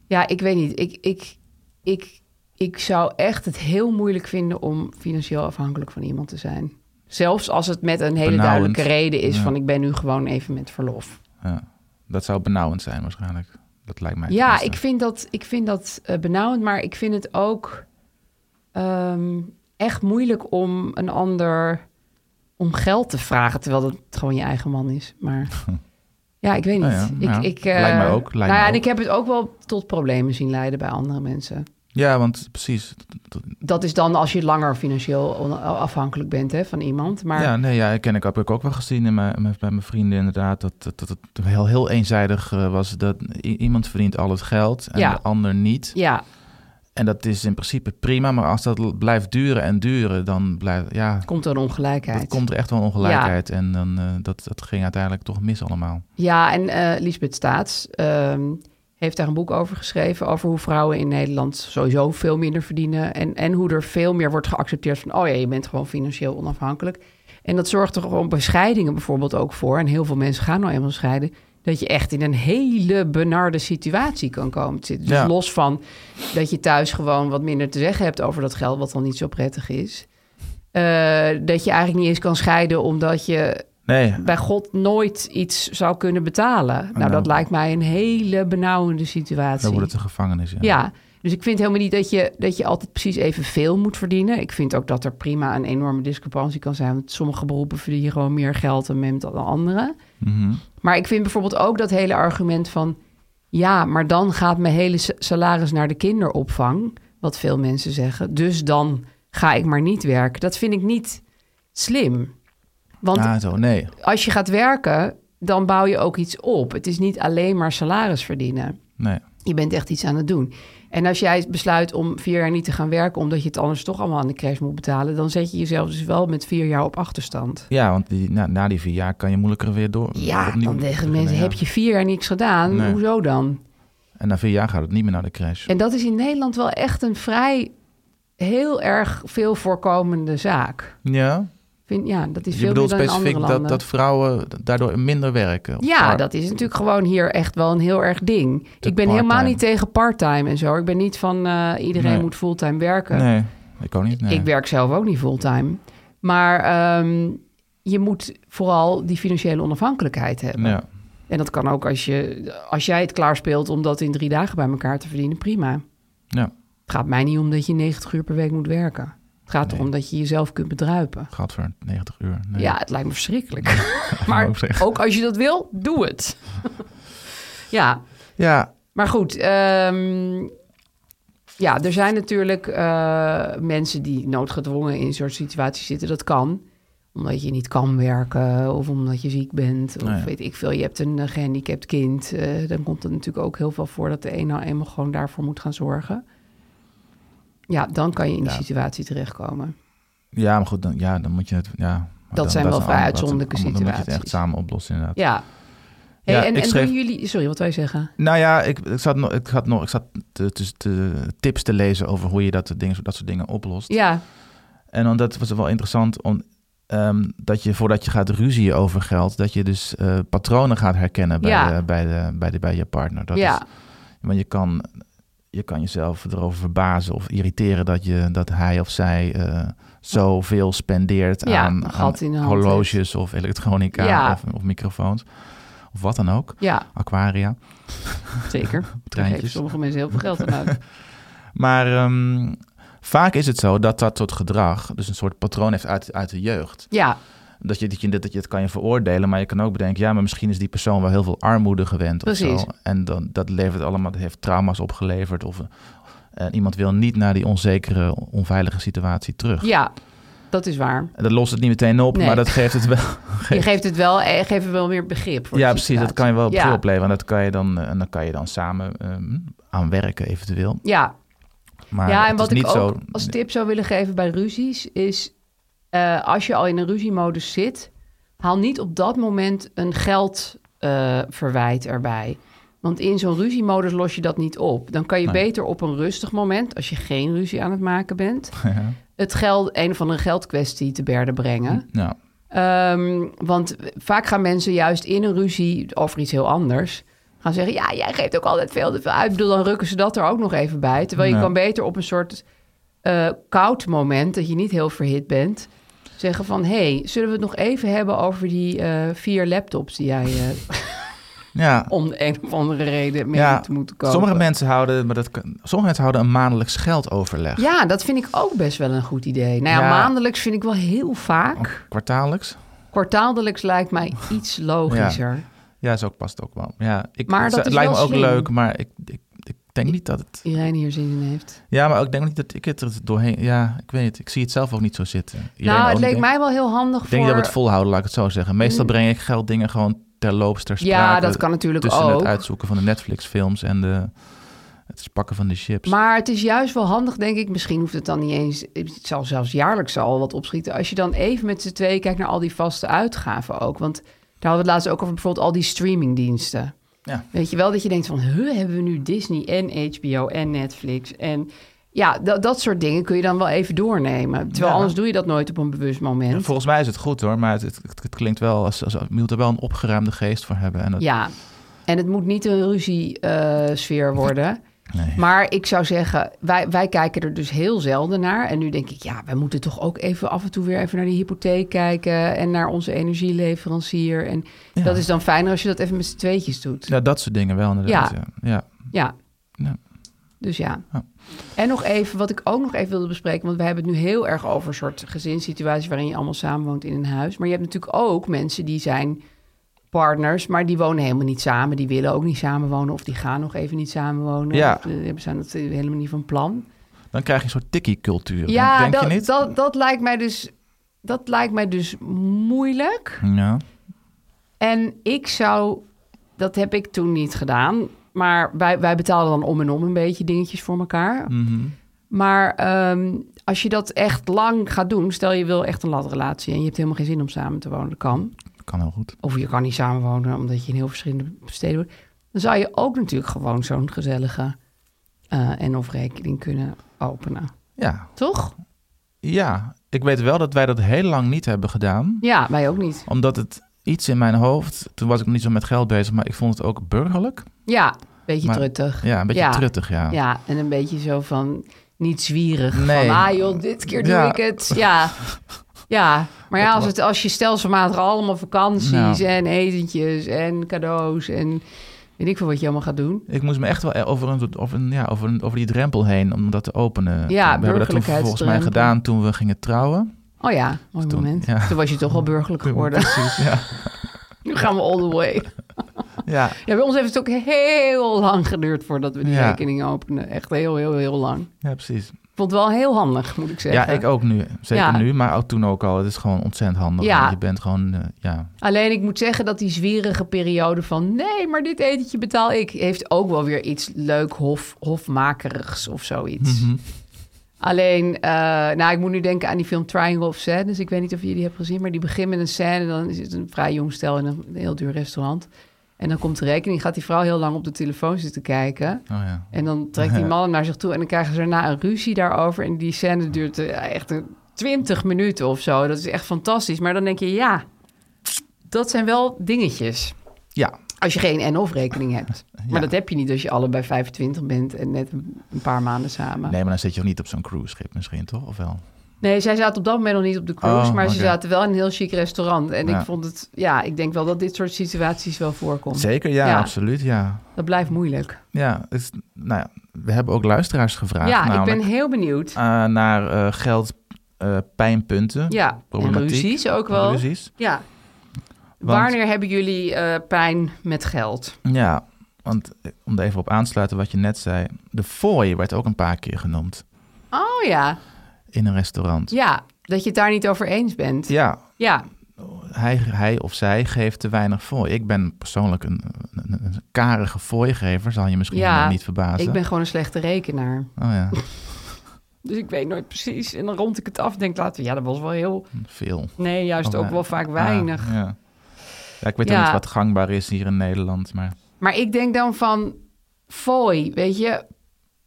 ja, ik weet niet. Ik, ik, ik, ik zou echt het heel moeilijk vinden om financieel afhankelijk van iemand te zijn. Zelfs als het met een hele Benauwend. duidelijke reden is Ja. van ik ben nu gewoon even met verlof. Ja. Dat zou benauwend zijn waarschijnlijk. Dat lijkt mij. Ja, tenminste. ik vind dat, ik vind dat eh, benauwend, maar ik vind het ook ehm, echt moeilijk om een ander om geld te vragen, terwijl dat gewoon je eigen man is. Maar ja, ik weet niet. Nou ja, ja. Ik, ik, eh, Lijkt mij ook, lijkt nou mij ja, en ook. ik heb het ook wel tot problemen zien leiden bij andere mensen. Ja, want precies. Dat- dat- Dat is dan als je langer financieel on- afhankelijk bent hè, van iemand. Maar Ja, nee, ja, ken ik heb ik ook wel gezien in mijn, mijn- bij mijn vrienden inderdaad. Dat, dat, dat het heel, heel eenzijdig eh, was. Dat i- iemand verdient al het geld en Ja. de ander niet. ja, En dat is in principe prima. Maar als dat l- blijft duren en duren, dan blijft... Ja, komt er ongelijkheid. dat komt er echt wel ongelijkheid. En dan, eh, dat, dat ging uiteindelijk toch mis allemaal. Ja, en eh Lisbeth Staats ehm, heeft daar een boek over geschreven... over hoe vrouwen in Nederland sowieso veel minder verdienen... en, en hoe er veel meer wordt geaccepteerd van... oh ja, je bent gewoon financieel onafhankelijk. En dat zorgt er gewoon bij scheidingen bijvoorbeeld ook voor... en heel veel mensen gaan nou eenmaal scheiden... dat je echt in een hele benarde situatie kan komen te zitten. Dus Ja. los van dat je thuis gewoon wat minder te zeggen hebt... over dat geld, wat dan niet zo prettig is... eh, dat je eigenlijk niet eens kan scheiden omdat je Nee, bij God nooit iets zou kunnen betalen. Nou, Nou. dat lijkt mij een hele benauwende dan situatie. wordt het een gevangenis. Ja. Ja, dus ik vind helemaal niet dat je, dat je altijd precies evenveel moet verdienen. Ik vind ook dat er prima een enorme discrepantie kan zijn. Want sommige beroepen verdienen gewoon meer geld dan men- dan anderen. Mhm. Maar ik vind bijvoorbeeld ook dat hele argument van... ja, maar dan gaat mijn hele sa- salaris naar de kinderopvang... wat veel mensen zeggen. Dus dan ga ik maar niet werken. Dat vind ik niet slim. Want ah, zo, nee. als je gaat werken, dan bouw je ook iets op. Het is niet alleen maar salaris verdienen. Nee. Je bent echt iets aan het doen. En als jij besluit om vier jaar niet te gaan werken, omdat je het anders toch allemaal aan de crash moet betalen, dan zet je jezelf dus wel met vier jaar op achterstand. Ja, want die, na, na die vier jaar kan je moeilijker weer door. Ja, opnieuw dan zeggen beginnen, mensen: ja. heb je vier jaar niks gedaan? Nee. Hoezo dan? En na vier jaar gaat het niet meer naar de crash. En dat is in Nederland wel echt een vrij heel erg veel voorkomende zaak. Ja, Vind, ja, dat is Dus je veel bedoelt meer dan in andere specifiek dat, landen. dat vrouwen daardoor minder werken? Of Ja, maar- dat is natuurlijk gewoon hier echt wel een heel erg ding. De ik ben helemaal parttime. niet tegen parttime en zo. Ik ben niet van eh, iedereen Nee. moet fulltime werken. Nee, ik ook niet. nee. Ik werk zelf ook niet fulltime. Maar ehm, je moet vooral die financiële onafhankelijkheid hebben. Ja. En dat kan ook als, je, als jij het klaarspeelt om dat in drie dagen bij elkaar te verdienen. Prima. ja, Het gaat mij niet om dat je 90 uur per week moet werken. Het gaat erom dat je jezelf kunt bedruipen. gaat voor 90 uur. Nee. Ja, het lijkt me verschrikkelijk. ook maar zeggen. ook als je dat wil, doe het. ja, ja, maar goed, ehm, ja, er zijn natuurlijk eh, mensen die noodgedwongen in soort situaties zitten. Dat kan, omdat je niet kan werken of omdat je ziek bent. Of Nou ja. weet ik veel, je hebt een eh, gehandicapt kind. Eh, dan komt het natuurlijk ook heel veel voor dat de een nou eenmaal gewoon daarvoor moet gaan zorgen. Ja, dan kan je in die Ja. situatie terechtkomen. ja, maar goed, dan, ja, dan moet je het. Ja, maar Dat dan- zijn wel vrij allemaal- uitzonderlijke allemaal- Dan moet je het echt situaties. samen oplossen, inderdaad. Ja. Hey, Ja, en ik en schreef- doen jullie... Sorry, wat wij zeggen? Nou ja, ik, ik zat nog, ik had nog, ik zat te, te- te- tips te lezen over hoe je dat, soort dingen, dat soort dingen oplost. Ja, En dan, dat was wel interessant, om, ehm, dat je voordat je gaat ruzieën over geld, dat je dus eh, patronen gaat herkennen bij, Ja. de, bij, de, bij, de, bij je partner. Dat ja. is, Want je kan, je kan jezelf erover verbazen of irriteren dat, je, dat hij of zij eh zoveel spendeert Ja, aan, een gat aan in de hand horloges of elektronica Ja. of, of microfoons. Of wat dan ook, ja, aquaria. zeker. Daar geven Treintjes. sommige mensen heel veel geld aan uit. Maar ehm, vaak is het zo dat dat soort gedrag, dus een soort patroon heeft uit, uit de jeugd. Ja, Dat je, dat, je, dat je het kan je veroordelen, maar je kan ook bedenken... ja, maar misschien is die persoon wel heel veel armoede gewend of Precies. zo. En dan, dat levert allemaal, dat heeft trauma's opgeleverd. Of eh, iemand wil niet naar die onzekere, onveilige situatie terug. ja. dat is waar. Dat lost het niet meteen op, Nee. maar dat geeft het wel. Je geeft het wel, eh, geeft er wel meer begrip voor. ja, de precies. Dat situatie. kan je wel op Ja. ja. opleveren. En dat kan je dan, eh, en dan kan je dan samen ehm, aan werken, eventueel. Ja, Maar ja, en het wat is ik niet ook zo. als tip zou willen geven bij ruzies is... eh, als je al in een ruziemodus zit... haal niet op dat moment een geldverwijt erbij. Want in zo'n ruziemodus los je dat niet op. Dan kan je Nee. beter op een rustig moment... als je geen ruzie aan het maken bent... Ja. het geld, een of andere geldkwestie te berden brengen. Ja. Ehm, want vaak gaan mensen juist in een ruzie over iets heel anders. Gaan zeggen, ja, jij geeft ook altijd veel te veel uit. Ik bedoel, dan rukken ze dat er ook nog even bij. Terwijl je Ja. kan beter op een soort eh, koud moment, dat je niet heel verhit bent, zeggen van... hé, hey, zullen we het nog even hebben over die eh, vier laptops die jij eh, ja. om de een of andere reden mee Ja, hebt moeten kopen? Sommige mensen houden, maar dat, kan- sommige mensen houden een maandelijks geldoverleg. Ja, dat vind ik ook best wel een goed idee. Nou Ja. ja, Oh. maandelijks vind ik wel heel vaak. Kwartaallijks. Kwartaaldelijks lijkt mij iets logischer. Ja, zo past ook wel. Ja, ik, Maar het dat is lijkt wel me ook slim. leuk, maar ik, ik, ik denk niet dat het. Iedereen hier zin in heeft. Ja, maar ik denk niet dat ik het er dus doorheen. Ja, ik weet het. Ik zie het zelf ook niet zo zitten. Iedereen nou, ook, het leek denk- mij wel heel handig Ik denk voor... dat we het volhouden, laat ik het zo zeggen. Meestal Mm. breng ik gelddingen gewoon terloops ter sprake. ja, dat kan natuurlijk Tussen het ook. uitzoeken van de Netflix-films en de, het pakken van de chips. Maar het is juist wel handig, denk ik. Misschien hoeft het dan niet eens... Het zal zelfs jaarlijks al wat opschieten. Als je dan even met z'n tweeën kijkt naar al die vaste uitgaven ook. Want daar hadden we het laatst ook over bijvoorbeeld al die streamingdiensten. Ja. Weet je wel dat je denkt van... Huh, hebben we nu Disney en HBO en Netflix en... Ja, dat, dat soort dingen kun je dan wel even doornemen. Terwijl Ja. anders doe je dat nooit op een bewust moment. Volgens mij is het goed hoor, maar het, het, het- het klinkt wel als, als, je moet er wel een opgeruimde geest voor hebben. En dat, Ja, en het moet niet een ruziesfeer worden. Nee. Maar ik zou zeggen, wij, wij kijken er dus heel zelden naar. En nu denk ik, ja, we moeten toch ook even af en toe weer even naar die hypotheek kijken. En naar onze energieleverancier. En Ja. dat is dan fijner als je dat even met z'n tweetjes doet. Ja. Ja, dat soort dingen wel inderdaad. Ja. Ja. Ja. Dus ja. Ja. En nog even, wat ik ook nog even wilde bespreken. Want we hebben het nu heel erg over een soort gezinssituatie waarin je allemaal samenwoont in een huis. Maar je hebt natuurlijk ook mensen die zijn partners, maar die wonen helemaal niet samen. Die willen ook niet samenwonen of die gaan nog even niet samenwonen. Ja. Of, eh, Zijn dat helemaal niet van plan. Dan krijg je een soort tikkie-cultuur. Ja, denk dat, je niet? Dat, dat, lijkt mij dus, dat lijkt mij dus moeilijk. Ja. En ik zou, dat heb ik toen niet gedaan. Maar wij, wij betalen dan om en om een beetje dingetjes voor elkaar. Mhm. Maar ehm, als je dat echt lang gaat doen, stel je wil echt een latrelatie en je hebt helemaal geen zin om samen te wonen, dat kan. Kan heel goed. Of je kan niet samenwonen omdat je in heel verschillende steden woont. Dan zou je ook natuurlijk gewoon zo'n gezellige eh, en of rekening kunnen openen. Ja. Toch? ja, ik weet wel dat wij dat heel lang niet hebben gedaan. Ja, wij ook niet. Omdat het iets in mijn hoofd... Toen was ik nog niet zo met geld bezig, maar ik vond het ook burgerlijk. Ja, beetje Maar- truttig. Ja, een beetje Ja. truttig, ja. Ja, en een beetje zo van niet zwierig. Nee. Van, ah joh, dit keer doe Ja. ik het. Ja, ja. maar ja, Dat als, was- het, als je stelselmatig allemaal vakanties Ja. en etentjes en cadeaus en weet ik veel wat je allemaal gaat doen. Ik moest me echt wel over, een, over, een, ja, over, een, over die drempel heen om dat te openen. Ja, we hebben dat toen volgens mij burgerlijkheidsdrempel. gedaan toen we gingen trouwen. Oh ja, mooi Toen- moment. ja. Toen was je toch al burgerlijk geworden. Precies, ja. nu gaan we all the way. ja. Ja, bij ons heeft het ook heel lang geduurd voordat we die Ja. rekening openen. Echt heel, heel, heel lang. Ja, precies. Ik vond het wel heel handig, moet ik Ja, zeggen. ik ook nu. Zeker Ja. nu, maar ook toen ook al. Het is gewoon ontzettend handig. Ja. want Je bent gewoon, eh, ja, Alleen ik moet zeggen dat die zwierige periode van nee, maar dit etentje betaal ik, heeft ook wel weer iets leuk hof, hofmakerigs of zoiets. Mhm. Alleen, eh, nou, ik moet nu denken aan die film Triangle of Sadness. Dus Ik weet niet of jullie die hebben gezien, maar die begint met een scène. Dan is het een vrij jong stel in een heel duur restaurant. En dan komt de rekening, gaat die vrouw heel lang op de telefoon zitten kijken. Oh ja. En dan trekt die man hem naar zich toe en dan krijgen ze daarna een ruzie daarover. En die scène duurt eh, echt een 20 minuten of zo. Dat is echt fantastisch. Maar dan denk je, ja, dat zijn wel dingetjes. Ja, Als je geen en-of rekening hebt. Maar Ja. dat heb je niet als je allebei 25 bent en net een een paar maanden samen. Nee, nee, maar dan zit je ook niet op zo'n cruiseschip misschien, toch? Of wel? zij zaten op dat moment nog niet op de cruise, Oh, maar ze oké. zaten wel in een heel chic restaurant. En Ja. ik vond het, ja, ik denk wel dat dit soort situaties wel voorkomt. Zeker, ja, Ja. absoluut, ja. Dat blijft moeilijk. Ja, het is- nou ja, we hebben ook luisteraars gevraagd ja, ik namelijk, ben heel benieuwd. eh, naar eh, geld, eh, pijnpunten, ja, en problematiek, ruzies ook wel. ruzies. Ja. Want- Wanneer hebben jullie eh, pijn met geld? Ja, want eh, om er even op aan te sluiten wat je net zei. De fooi werd ook een paar keer genoemd Oh ja, in een restaurant. ja. Dat je het daar niet over eens bent. Ja, Ja, hij, hij of zij geeft te weinig fooi. Ik ben persoonlijk een, een, een karige fooigever, zal je misschien Ja, eh, niet verbazen. ik ben gewoon een slechte rekenaar. Oh ja, Dus ik weet nooit precies. En dan rond ik het af. Denk later, ja, dat was wel heel. veel. Nee, juist Oh, ook ja. wel vaak Ah, weinig. ja. ja, ik weet Ja. ook niet wat gangbaar is hier in Nederland, maar... Maar ik denk dan van. Fooi, weet je.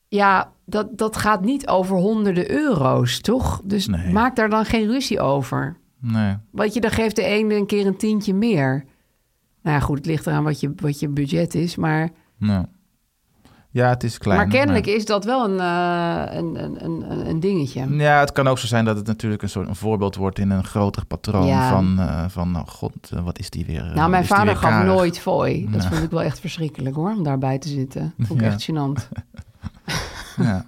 Ja, dat, dat gaat niet over honderden euro's, toch? Dus Nee. maak daar dan geen ruzie over. Nee. Want je, dan geeft de ene een keer een tientje meer. Nou ja, goed, het ligt eraan wat je, wat je budget is. Maar, nee. Nou. Ja, het is klein. maar kennelijk is dat wel een, eh, een, een, een, een dingetje. Ja, het kan ook zo zijn dat het natuurlijk een soort een voorbeeld wordt in een groter patroon Ja. van, eh, van oh god, eh, wat is die weer? eh, Nou, mijn is die vader weer gaf karig? nooit fooi. Dat Ja. vond ik wel echt verschrikkelijk hoor, om daarbij te zitten. Vond ik Ja. echt gênant. Ja.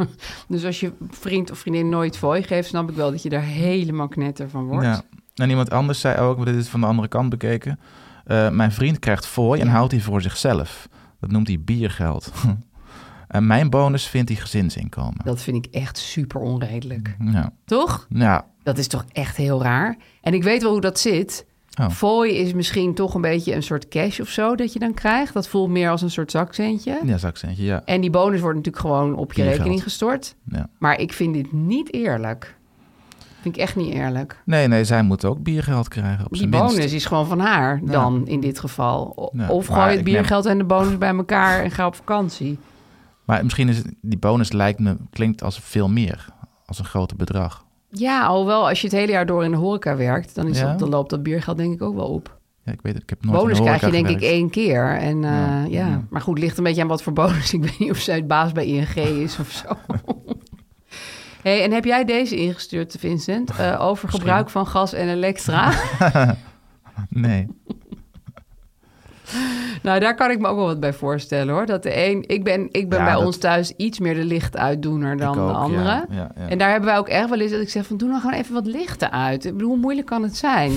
Dus als je vriend of vriendin nooit fooi geeft, snap ik wel dat je daar helemaal knetter van wordt. Ja. En iemand anders zei ook, maar dit is van de andere kant bekeken. eh, mijn vriend krijgt fooi en houdt die voor zichzelf. Dat noemt hij biergeld. en mijn bonus vindt hij gezinsinkomen. Dat vind ik echt super onredelijk. Ja. Toch? ja. Dat is toch echt heel raar. En ik weet wel hoe dat zit. Oh. Fooi is misschien toch een beetje een soort cash of zo dat je dan krijgt. Dat voelt meer als een soort zakcentje. Ja, zakcentje, ja. En die bonus wordt natuurlijk gewoon op je Biergeld. rekening gestort. ja. Maar ik vind dit niet eerlijk. Vind ik echt niet eerlijk. Nee, nee, zij moet ook biergeld krijgen op Die zijn minst. bonus is gewoon van haar dan in dit geval. O- Ja, of maar gooi het ik neem- biergeld en de bonus bij elkaar en ga op vakantie. Maar misschien is het- die bonus lijkt me, klinkt als veel meer. Als een groter bedrag. Ja, alhoewel als je het hele jaar door in de horeca werkt, dan, is Ja. dat, dan loopt dat biergeld denk ik ook wel op. Ja, ik weet het, ik heb nooit bonus in de krijg horeca je denk ik gewerkt. één keer. En, eh, Ja. ja. Maar goed, ligt een beetje aan wat voor bonus. Ik weet niet of zij het baas bij ING is of zo. Hey, en heb jij deze ingestuurd, Vincent, eh, over gebruik van gas en elektra? Nee. Nou, daar kan ik me ook wel wat bij voorstellen hoor. Dat de een, ik ben, ik ben Ja, bij dat- ons thuis iets meer de lichtuitdoener dan Ik ook, de ja, andere. ja, ja. En daar hebben wij ook echt wel eens dat ik zeg van doe nou gewoon even wat lichten uit. Ik bedoel, hoe moeilijk kan het zijn?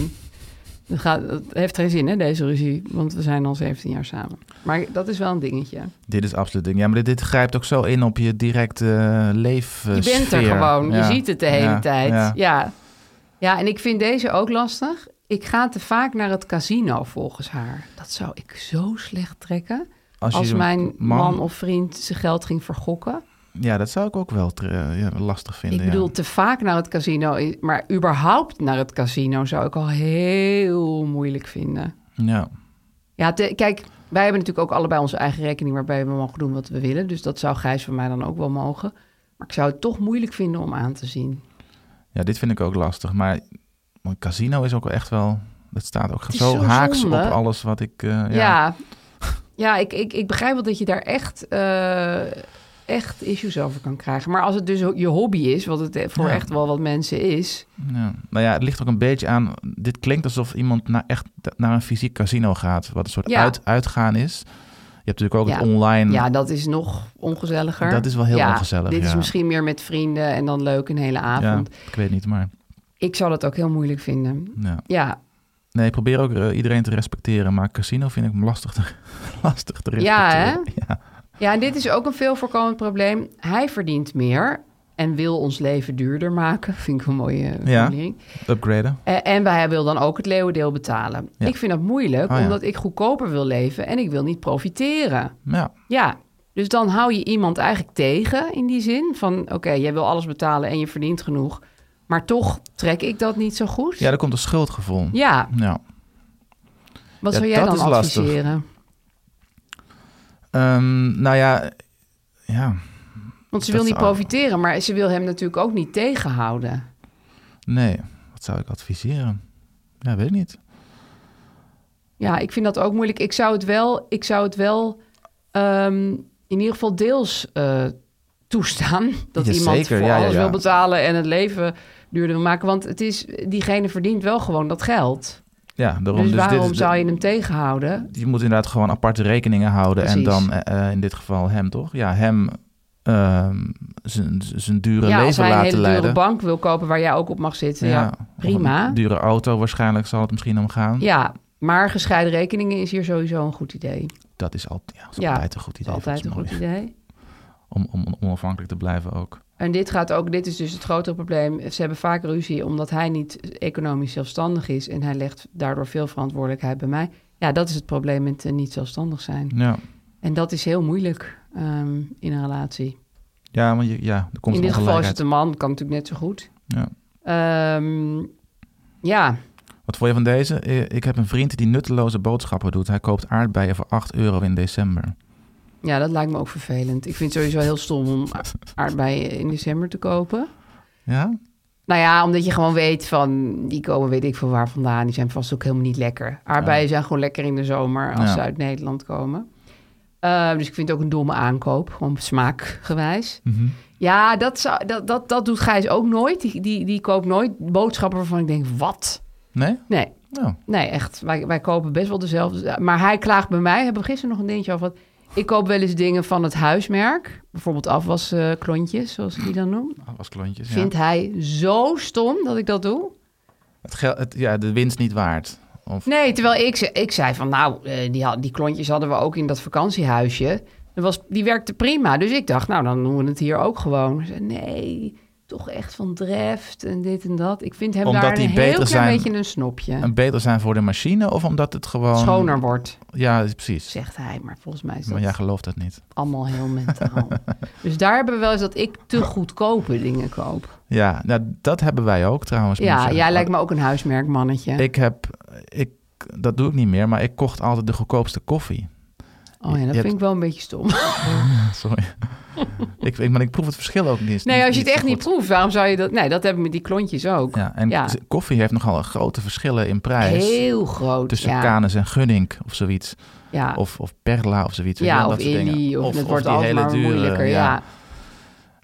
Dat, gaat, dat heeft geen zin hè, deze ruzie, want we zijn al 17 jaar samen. Maar dat is wel een dingetje. Dit is absoluut ding. Ja, maar dit, dit grijpt ook zo in op je directe eh, leven. Je bent er gewoon, je ziet het de hele tijd. Ja. ja. en ik vind deze ook lastig. Ik ga te vaak naar het casino volgens haar. Dat zou ik zo slecht trekken. Als, je zo'n mijn man of vriend zijn geld ging vergokken. Ja, dat zou ik ook wel tre- eh, ja, lastig vinden. Ik bedoel, ja. te vaak naar het casino, i- maar überhaupt naar het casino zou ik al heel moeilijk vinden. Ja. Ja, te- kijk, wij hebben natuurlijk ook allebei onze eigen rekening waarbij we mogen doen wat we willen. Dus dat zou Gijs van mij dan ook wel mogen. Maar ik zou het toch moeilijk vinden om aan te zien. ja, dit vind ik ook lastig. Maar een casino is ook wel echt wel... Dat staat ook is zo, zo haaks zonde. op alles wat ik... eh, ja. Ja, ja. ik, ik, ik begrijp wel dat je daar echt, eh, echt issues over kan krijgen. Maar als het dus je hobby is, wat het voor Ja. echt wel wat mensen is. Ja. Nou ja, het ligt ook een beetje aan... Dit klinkt alsof iemand na, echt naar een fysiek casino gaat. Wat een soort Ja. uit, uitgaan is. Je hebt natuurlijk ook het Ja. online... Ja, dat is nog ongezelliger. Dat is wel heel Ja, ongezellig, Dit is ja. misschien meer met vrienden en dan leuk een hele Ja, avond. ik weet niet, maar... Ik zou dat ook heel moeilijk vinden. Ja. Ja, Nee, ik probeer ook eh, iedereen te respecteren, maar casino vind ik lastig te, lastig te Ja, hè? respecteren. Ja, ja en dit is ook een veel voorkomend probleem. Hij verdient meer en wil ons leven duurder maken. Vind ik een mooie eh, Ja. formulering. upgraden. Eh, En wij wil dan ook het leeuwendeel betalen. Ja. Ik vind dat moeilijk, Oh, ja. omdat ik goedkoper wil leven en ik wil niet profiteren. Ja, Ja, dus dan hou je iemand eigenlijk tegen in die zin van... oké, jij wil alles betalen en je verdient genoeg, maar toch trek ik dat niet zo goed. ja, er komt een schuldgevoel. Ja, Ja. wat Ja, zou jij dat dan is lastig. adviseren? Ehm, nou ja, ja, Want ze Dat wil niet zou- profiteren, maar ze wil hem natuurlijk ook niet tegenhouden. nee. Wat zou ik adviseren? Ja, weet ik niet. Ja, ik vind dat ook moeilijk. Ik zou het wel, ik zou het wel ehm, in ieder geval deels eh, toestaan. Dat Ja, iemand zeker. voor Ja, ja, alles ja. wil betalen en het leven duurder wil maken. Want het is, diegene verdient wel gewoon dat geld. Ja, daarom. dus dit is waarom de- zou je hem tegenhouden? Je moet inderdaad gewoon aparte rekeningen houden en Precies. dan eh, eh, in dit geval hem, toch? Ja, hem ehm, zijn zijn dure Ja, als leven hij een laten hele leiden. dure bank wil kopen waar jij ook op mag zitten. Ja, of prima. Een dure auto waarschijnlijk zal het misschien om gaan. ja, maar gescheiden rekeningen is hier sowieso een goed idee. Dat is, al, ja, is Ja, altijd een goed Dat is idee. altijd een volgens mij. goed idee. om, om onafhankelijk te blijven ook. En dit gaat ook, dit is dus het grotere probleem. Ze hebben vaak ruzie omdat hij niet economisch zelfstandig is en hij legt daardoor veel verantwoordelijkheid bij mij. Ja, dat is het probleem met eh, niet zelfstandig zijn. Ja, En dat is heel moeilijk ehm, in een relatie. ja want je, ja, er komt in een dit geval is ongelijkheid. het een man, kan natuurlijk net zo goed. Ja. Ehm, ja, Wat vond je van deze? Eh, Ik heb een vriend die nutteloze boodschappen doet. Hij koopt aardbeien voor 8 euro in december. ja, dat lijkt me ook vervelend. Ik vind het sowieso heel stom om a- aardbeien in december te kopen. Ja? Nou ja, omdat je gewoon weet van, die komen weet ik veel waar vandaan. Die zijn vast ook helemaal niet lekker. Aardbeien zijn gewoon lekker in de zomer als Ja. ze uit Nederland komen. Eh, dus ik vind het ook een domme aankoop, gewoon smaakgewijs. Mhm. Ja, dat, zou, dat, dat, dat doet Gijs ook nooit. Die, die, die koopt nooit boodschappen waarvan ik denk, wat? Nee? Nee, Nou, nee echt. Wij, wij kopen best wel dezelfde. Maar hij klaagt bij mij, hebben we gisteren nog een dingetje over. want Ik koop wel eens dingen van het huismerk. Bijvoorbeeld afwasklontjes, zoals ik die dan noem. was klontjes. Ja. Vindt hij zo stom dat ik dat doe? Het geld, het, ja, de winst niet waard. Of, Nee, terwijl ik, ze- ik zei van nou, eh, die, had- die klontjes hadden we ook in dat vakantiehuisje. Dat was, die werkte prima. Dus ik dacht, nou, dan doen we het hier ook gewoon. Ze zei, nee, toch echt van dreft en dit en dat. Ik vind hem Omdat daar een die heel beter klein zijn- beetje een snopje. Een beter zijn voor de machine of omdat het gewoon... Schoner wordt, Ja, precies. zegt hij. Maar volgens mij is dat Maar jij gelooft dat niet. allemaal heel mentaal. dus daar hebben we wel eens dat ik te goedkope dingen koop. Ja, nou, dat hebben wij ook trouwens. moet ik Ja, zeggen. jij lijkt me ook een huismerkmannetje. Ik heb... Ik, dat doe ik niet meer, maar ik kocht altijd de goedkoopste koffie. oh ja, je dat hebt- vind ik wel een beetje stom. Sorry. ik, ik, maar ik proef het verschil ook niet. Nee, als je het echt zo niet goed. proeft, waarom zou je dat... Nee, dat heb ik met die klontjes ook. Ja, en Ja. z- koffie heeft nogal grote verschillen in prijs. Heel groot. tussen ja. Canis en Gunnink of zoiets. Ja, Of, of Perla of zoiets. weet je ja, wel, of dat soort dingen. Illy. Of, het wordt die altijd hele maar dure, moeilijker. Ja.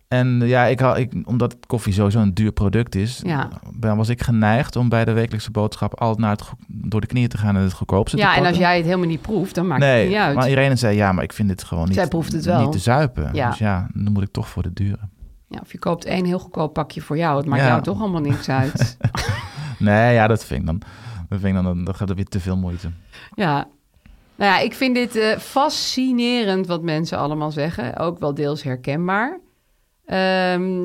En eh, ja, ik, hou- ik, omdat koffie sowieso een duur product is, Ja. ben- was ik geneigd om bij de wekelijkse boodschap altijd naar het, goed- door de knieën te gaan en het goedkoopste Ja, te en pakken. als jij het helemaal niet proeft, dan maakt het niet Nee, uit. maar Irene zei ja, maar ik vind dit gewoon niet, Zij proeft het wel. niet te zuipen. Ja. Dus ja, dan moet ik toch voor de dure. Ja, of je koopt één heel goedkoop pakje voor jou. Het maakt Ja. jou toch allemaal niks uit. Nee, ja, dat vind ik dan. Dat vind ik dan, dan gaat er weer te veel moeite. ja. Nou ja, ik vind dit eh, fascinerend wat mensen allemaal zeggen. Ook wel deels herkenbaar. Ehm,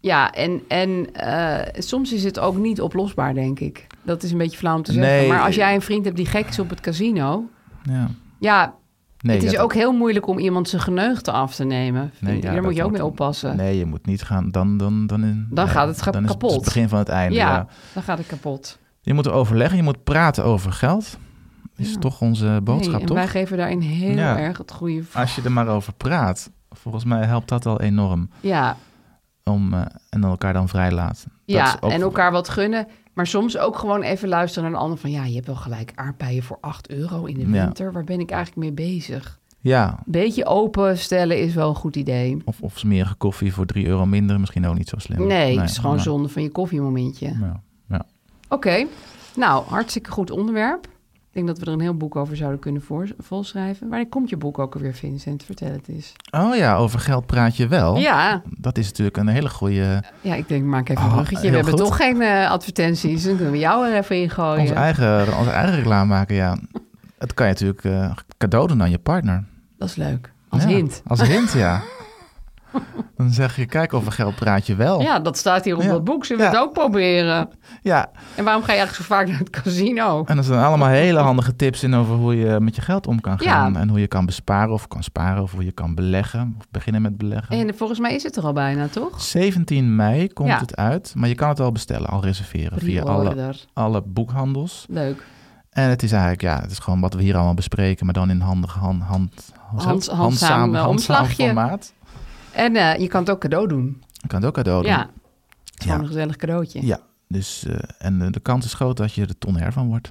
ja, en, en eh, soms is het ook niet oplosbaar, denk ik. Dat is een beetje flauw om te zeggen. Nee. Maar als jij een vriend hebt die gek is op het casino... Ja. Ja, Nee, het is ja, ook heel moeilijk om iemand zijn geneugte af te nemen. Nee, Nee, ja, Daar dat moet je ook wordt- mee oppassen. Nee, je moet niet gaan. Dan, dan, dan, in- Dan gaat het ga- dan is kapot. Het begin van het einde. ja, ja. dan gaat het kapot. Je moet overleggen, je moet praten over geld. Is Ja. toch onze boodschap, Nee, en toch? wij geven daarin heel Ja. Ah. erg het goede... v- Als je er maar over praat, volgens mij helpt dat al enorm. Ja, Om, eh, en dan elkaar dan vrijlaat. Dat ja is ook- en elkaar wat gunnen. Maar soms ook gewoon even luisteren naar de ander. Van ja, je hebt wel gelijk aardbeien voor 8 euro in de Ja. winter. Waar ben ik eigenlijk mee bezig? Ja, Een beetje openstellen is wel een goed idee. of, of smerige koffie voor 3 euro minder, misschien ook niet zo slim. Nee, het is gewoon maar- zonde van je koffiemomentje. Ja, ja. Oké, nou, hartstikke goed onderwerp. Ik denk dat we er een heel boek over zouden kunnen voor- volschrijven. Wanneer komt je boek ook alweer, Vincent? Vertel het eens. Oh ja, over geld praat je wel. Ja, Dat is natuurlijk een hele goede. ja, ik denk, maak even Oh, een bruggetje. heel we hebben goed. toch geen eh, advertenties, dan kunnen we jou er even in gooien. Onze, eigen, onze eigen reclame maken, ja. Dat kan je natuurlijk eh, cadeau doen aan je partner. Dat is leuk, als Ja, hint. Als hint, ja. Dan zeg je, kijk, over geld praat je wel. Ja, dat staat hier op Oh. Ja. dat boek. Zullen we Ja. het ook proberen? ja. En waarom ga je eigenlijk zo vaak naar het casino? En er zijn allemaal hele handige tips in over hoe je met je geld om kan gaan. Ja. En hoe je kan besparen of kan sparen of hoe je kan beleggen. Of beginnen met beleggen. En volgens mij is het er al bijna, toch? 17 mei komt Ja. het uit, maar je kan het al bestellen, al reserveren via alle, Pre-order. alle boekhandels. Leuk. En het is eigenlijk, ja, het is gewoon wat we hier allemaal bespreken, maar dan in handig hand, hand, Hands- handzaam, eh, omslagje. formaat. En eh, je kan het ook cadeau doen. Je kan het ook cadeau doen. Ja, het is gewoon Ja. een gezellig cadeautje. Ja. Dus, eh, en de, de kans is groot dat je de ton her van wordt.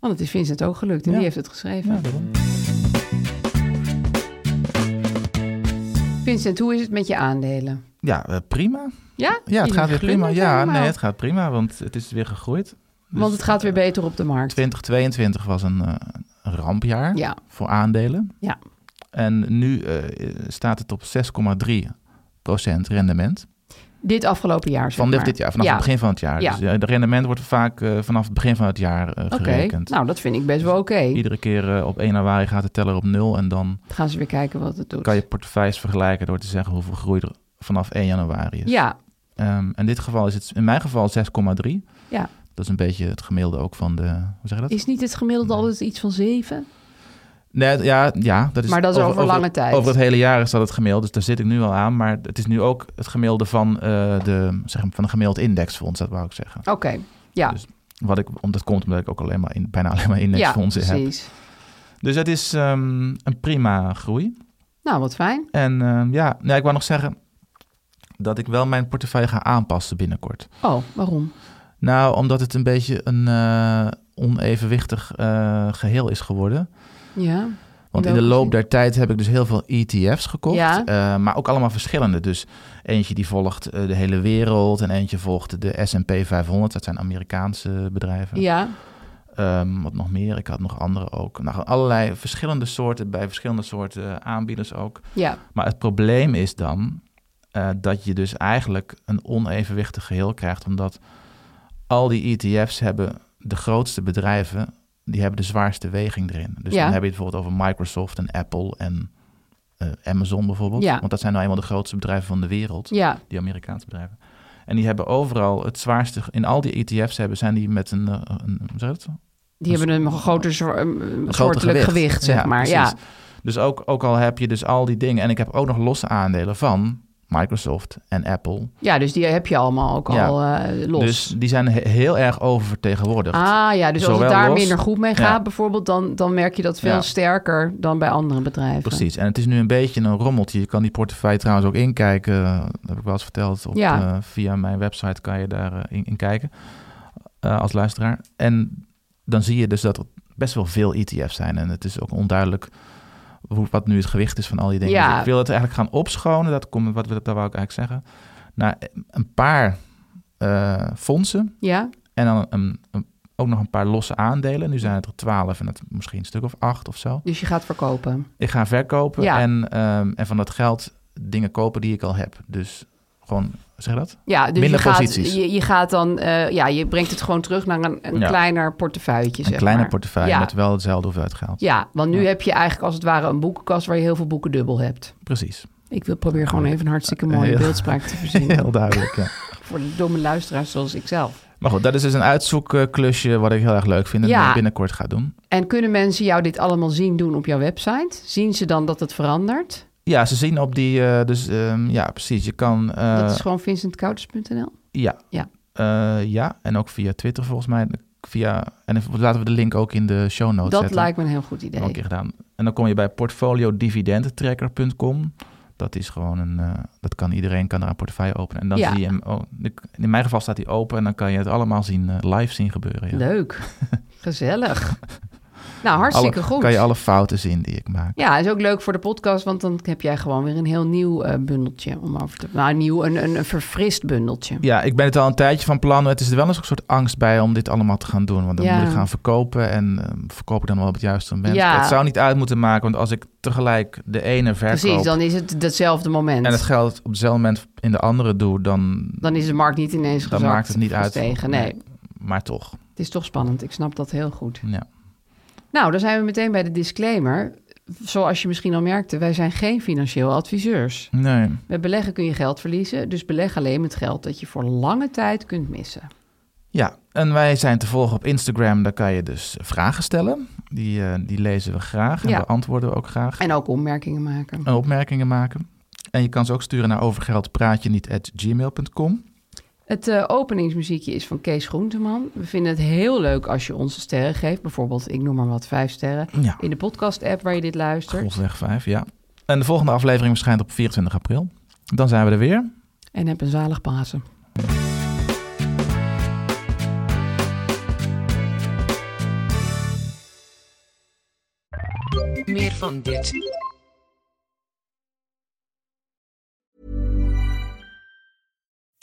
Want het is Vincent ook gelukt en Ja. die heeft het geschreven. Ja, daarom. Vincent, hoe is het met je aandelen? Ja, eh, prima. Ja? Ja, het Je gaat weer glundert prima. Ja, helemaal. nee, het gaat prima, want het is weer gegroeid. Dus, Want het gaat weer eh, beter op de markt. 2022 was een eh, een rampjaar Ja, voor aandelen. Ja. En nu eh, staat het op 6,3 rendement. dit afgelopen jaar zeg Van dit, maar. dit jaar, vanaf ja. het begin van het jaar. Ja. Dus eh, de rendement wordt vaak eh, vanaf het begin van het jaar eh, Oké, gerekend. nou dat vind ik best wel oké. Iedere keer eh, op 1 januari gaat de teller op 0 en dan Dan Gaan ze weer kijken wat het doet. kan je portefeuilles vergelijken door te zeggen hoeveel groei er vanaf 1 januari is. Ja, Ehm, in dit geval is het in mijn geval 6,3. Ja. Dat is een beetje het gemiddelde ook van de. Hoe zeg je dat? is niet het gemiddelde altijd iets van zeven? Nee, ja, ja, dat is Maar dat is over lange tijd. Dus Over het hele jaar is dat het gemiddelde. Dus daar zit ik nu al aan. Maar het is nu ook het gemiddelde van, eh, de, zeg, maar, van de gemiddelde indexfonds, dat wou ik zeggen. Oké, ja. Dus Wat ik, om- dat komt omdat ik ook alleen maar in, bijna alleen maar indexfondsen ja, heb. precies. Dus het is ehm, een prima groei. Nou, wat fijn. En ehm, ja, nou, ik wou nog zeggen dat ik wel mijn portefeuille ga aanpassen binnenkort. Oh, waarom? Nou, omdat het een beetje een eh, onevenwichtig eh, geheel is geworden. Ja, Want in de welke zin? loop der tijd heb ik dus heel veel ETF's gekocht. Ja. eh, maar ook allemaal verschillende. Dus eentje die volgt eh, de hele wereld. En eentje volgt de S&P 500. Dat zijn Amerikaanse bedrijven. ja. Ehm, wat nog meer? Ik had nog andere ook. Nou, allerlei verschillende soorten bij verschillende soorten eh, aanbieders ook. ja. Maar het probleem is dan eh, dat je dus eigenlijk een onevenwichtig geheel krijgt, omdat al die ETF's hebben de grootste bedrijven, die hebben de zwaarste weging erin. Dus Ja. dan heb je het bijvoorbeeld over Microsoft en Apple en eh, Amazon bijvoorbeeld. Ja. Want dat zijn nou eenmaal de grootste bedrijven van de wereld, Ja, die Amerikaanse bedrijven. En die hebben overal het zwaarste, in al die ETF's hebben, zijn die met een, eh, een hoe zeg je dat? die Een hebben een groter soor- een soortelijk gewicht, zeg Dus- Ja, maar. Ja, precies. Dus ook, ook al heb je dus al die dingen. En ik heb ook nog losse aandelen van Microsoft en Apple. ja, dus die heb je allemaal ook Ja. al eh, los. Dus die zijn he- heel erg oververtegenwoordigd. ah ja, dus als Zowel het daar los- minder goed mee Ja. gaat bijvoorbeeld, dan, dan merk je dat veel Ja. sterker dan bij andere bedrijven. Precies. En het is nu een beetje een rommeltje. Je kan die portefeuille trouwens ook inkijken. Dat heb ik wel eens verteld. Op, Ja. eh, via mijn website kan je daar eh, in, in kijken eh, als luisteraar. En dan zie je dus dat er best wel veel ETF's zijn. En het is ook onduidelijk hoe, wat nu het gewicht is van al die dingen. Ja. Dus ik wil het eigenlijk gaan opschonen. Dat, komt, wat, dat wou ik eigenlijk zeggen. Naar een paar eh, fondsen. Ja, En dan een, een- ook nog een paar losse aandelen. Nu zijn het er twaalf en dat misschien een stuk of acht of zo. dus je gaat verkopen. Ik ga verkopen Ja. en, ehm, en van dat geld dingen kopen die ik al heb. Dus gewoon, zeg je dat? Ja, dus Minder je, gaat, posities. je, je gaat dan, eh, ja, je brengt het gewoon terug naar een, een Ja. kleiner portefeuilletje, een zeg kleine maar. portefeuille Ja. met wel hetzelfde hoeveelheid geld. Ja, want nu Ja. heb je eigenlijk als het ware een boekenkast waar je heel veel boeken dubbel hebt. Precies. Ik wil proberen gewoon even een hartstikke mooie Heel- beeldspraak te verzinnen. Heel duidelijk, ja. Voor de domme luisteraars zoals ik zelf. Maar goed, dat is dus een uitzoekklusje wat ik heel erg leuk vind en Ja. eh, binnenkort ga doen. En kunnen mensen jou dit allemaal zien doen op jouw website? Zien ze dan dat het verandert? Ja, ze zien op die, eh, dus ehm, ja, precies. Je kan, eh, nou, dat is gewoon vincentkouters.nl. ja. Ja. Eh, ja, en ook via Twitter volgens mij. Via, en even- laten we de link ook in de show notes Dat zetten. lijkt me een heel goed Al idee. een keer gedaan. En dan kom je bij portfoliodividendentracker.com. Dat is gewoon een, eh, dat kan iedereen kan daar een portefeuille openen. En dan Ja. zie je hem, oh, ik- in mijn geval staat hij open en dan kan je het allemaal zien, eh, live zien gebeuren. Ja. Leuk. Gezellig. nou, hartstikke Alle- goed. Kan je alle fouten zien die ik maak. Ja, is ook leuk voor de podcast, want dan heb jij gewoon weer een heel nieuw eh, bundeltje om over te... Nou, nieuw, een, een, een verfrist bundeltje. Ja, ik ben het al een tijdje van plan. Het is er wel eens een soort angst bij om dit allemaal te gaan doen. Want dan Ja. moet ik gaan verkopen en eh, verkoop ik dan wel op het juiste moment. Ja. Het zou niet uit moeten maken, want als ik tegelijk de ene verkoop Precies, dan is het datzelfde moment. en het geld op hetzelfde moment in de andere doe, dan, Dan is de markt niet ineens dan gezakt. maakt het niet of uit. Tegen. Nee, maar toch. het is toch spannend. Ik snap dat heel goed. Ja. Nou, dan zijn we meteen bij de disclaimer. Zoals je misschien al merkte, wij zijn geen financieel adviseurs. Nee. Met beleggen kun je geld verliezen, dus beleg alleen met geld dat je voor lange tijd kunt missen. Ja, en wij zijn te volgen op Instagram. Daar kan je dus vragen stellen. Die, eh, die lezen we graag en Ja. beantwoorden we ook graag. En ook opmerkingen maken. En opmerkingen maken. En je kan ze ook sturen naar overgeldpraatjeniet.gmail.com. Het eh, openingsmuziekje is van Kees Groenteman. We vinden het heel leuk als je onze sterren geeft. Bijvoorbeeld, ik noem maar wat, vijf sterren. Ja, In de podcast-app waar je dit luistert. grofweg 5, ja. En de volgende aflevering verschijnt op 24 april. Dan zijn we er weer. En heb een zalig Pasen. Meer van dit.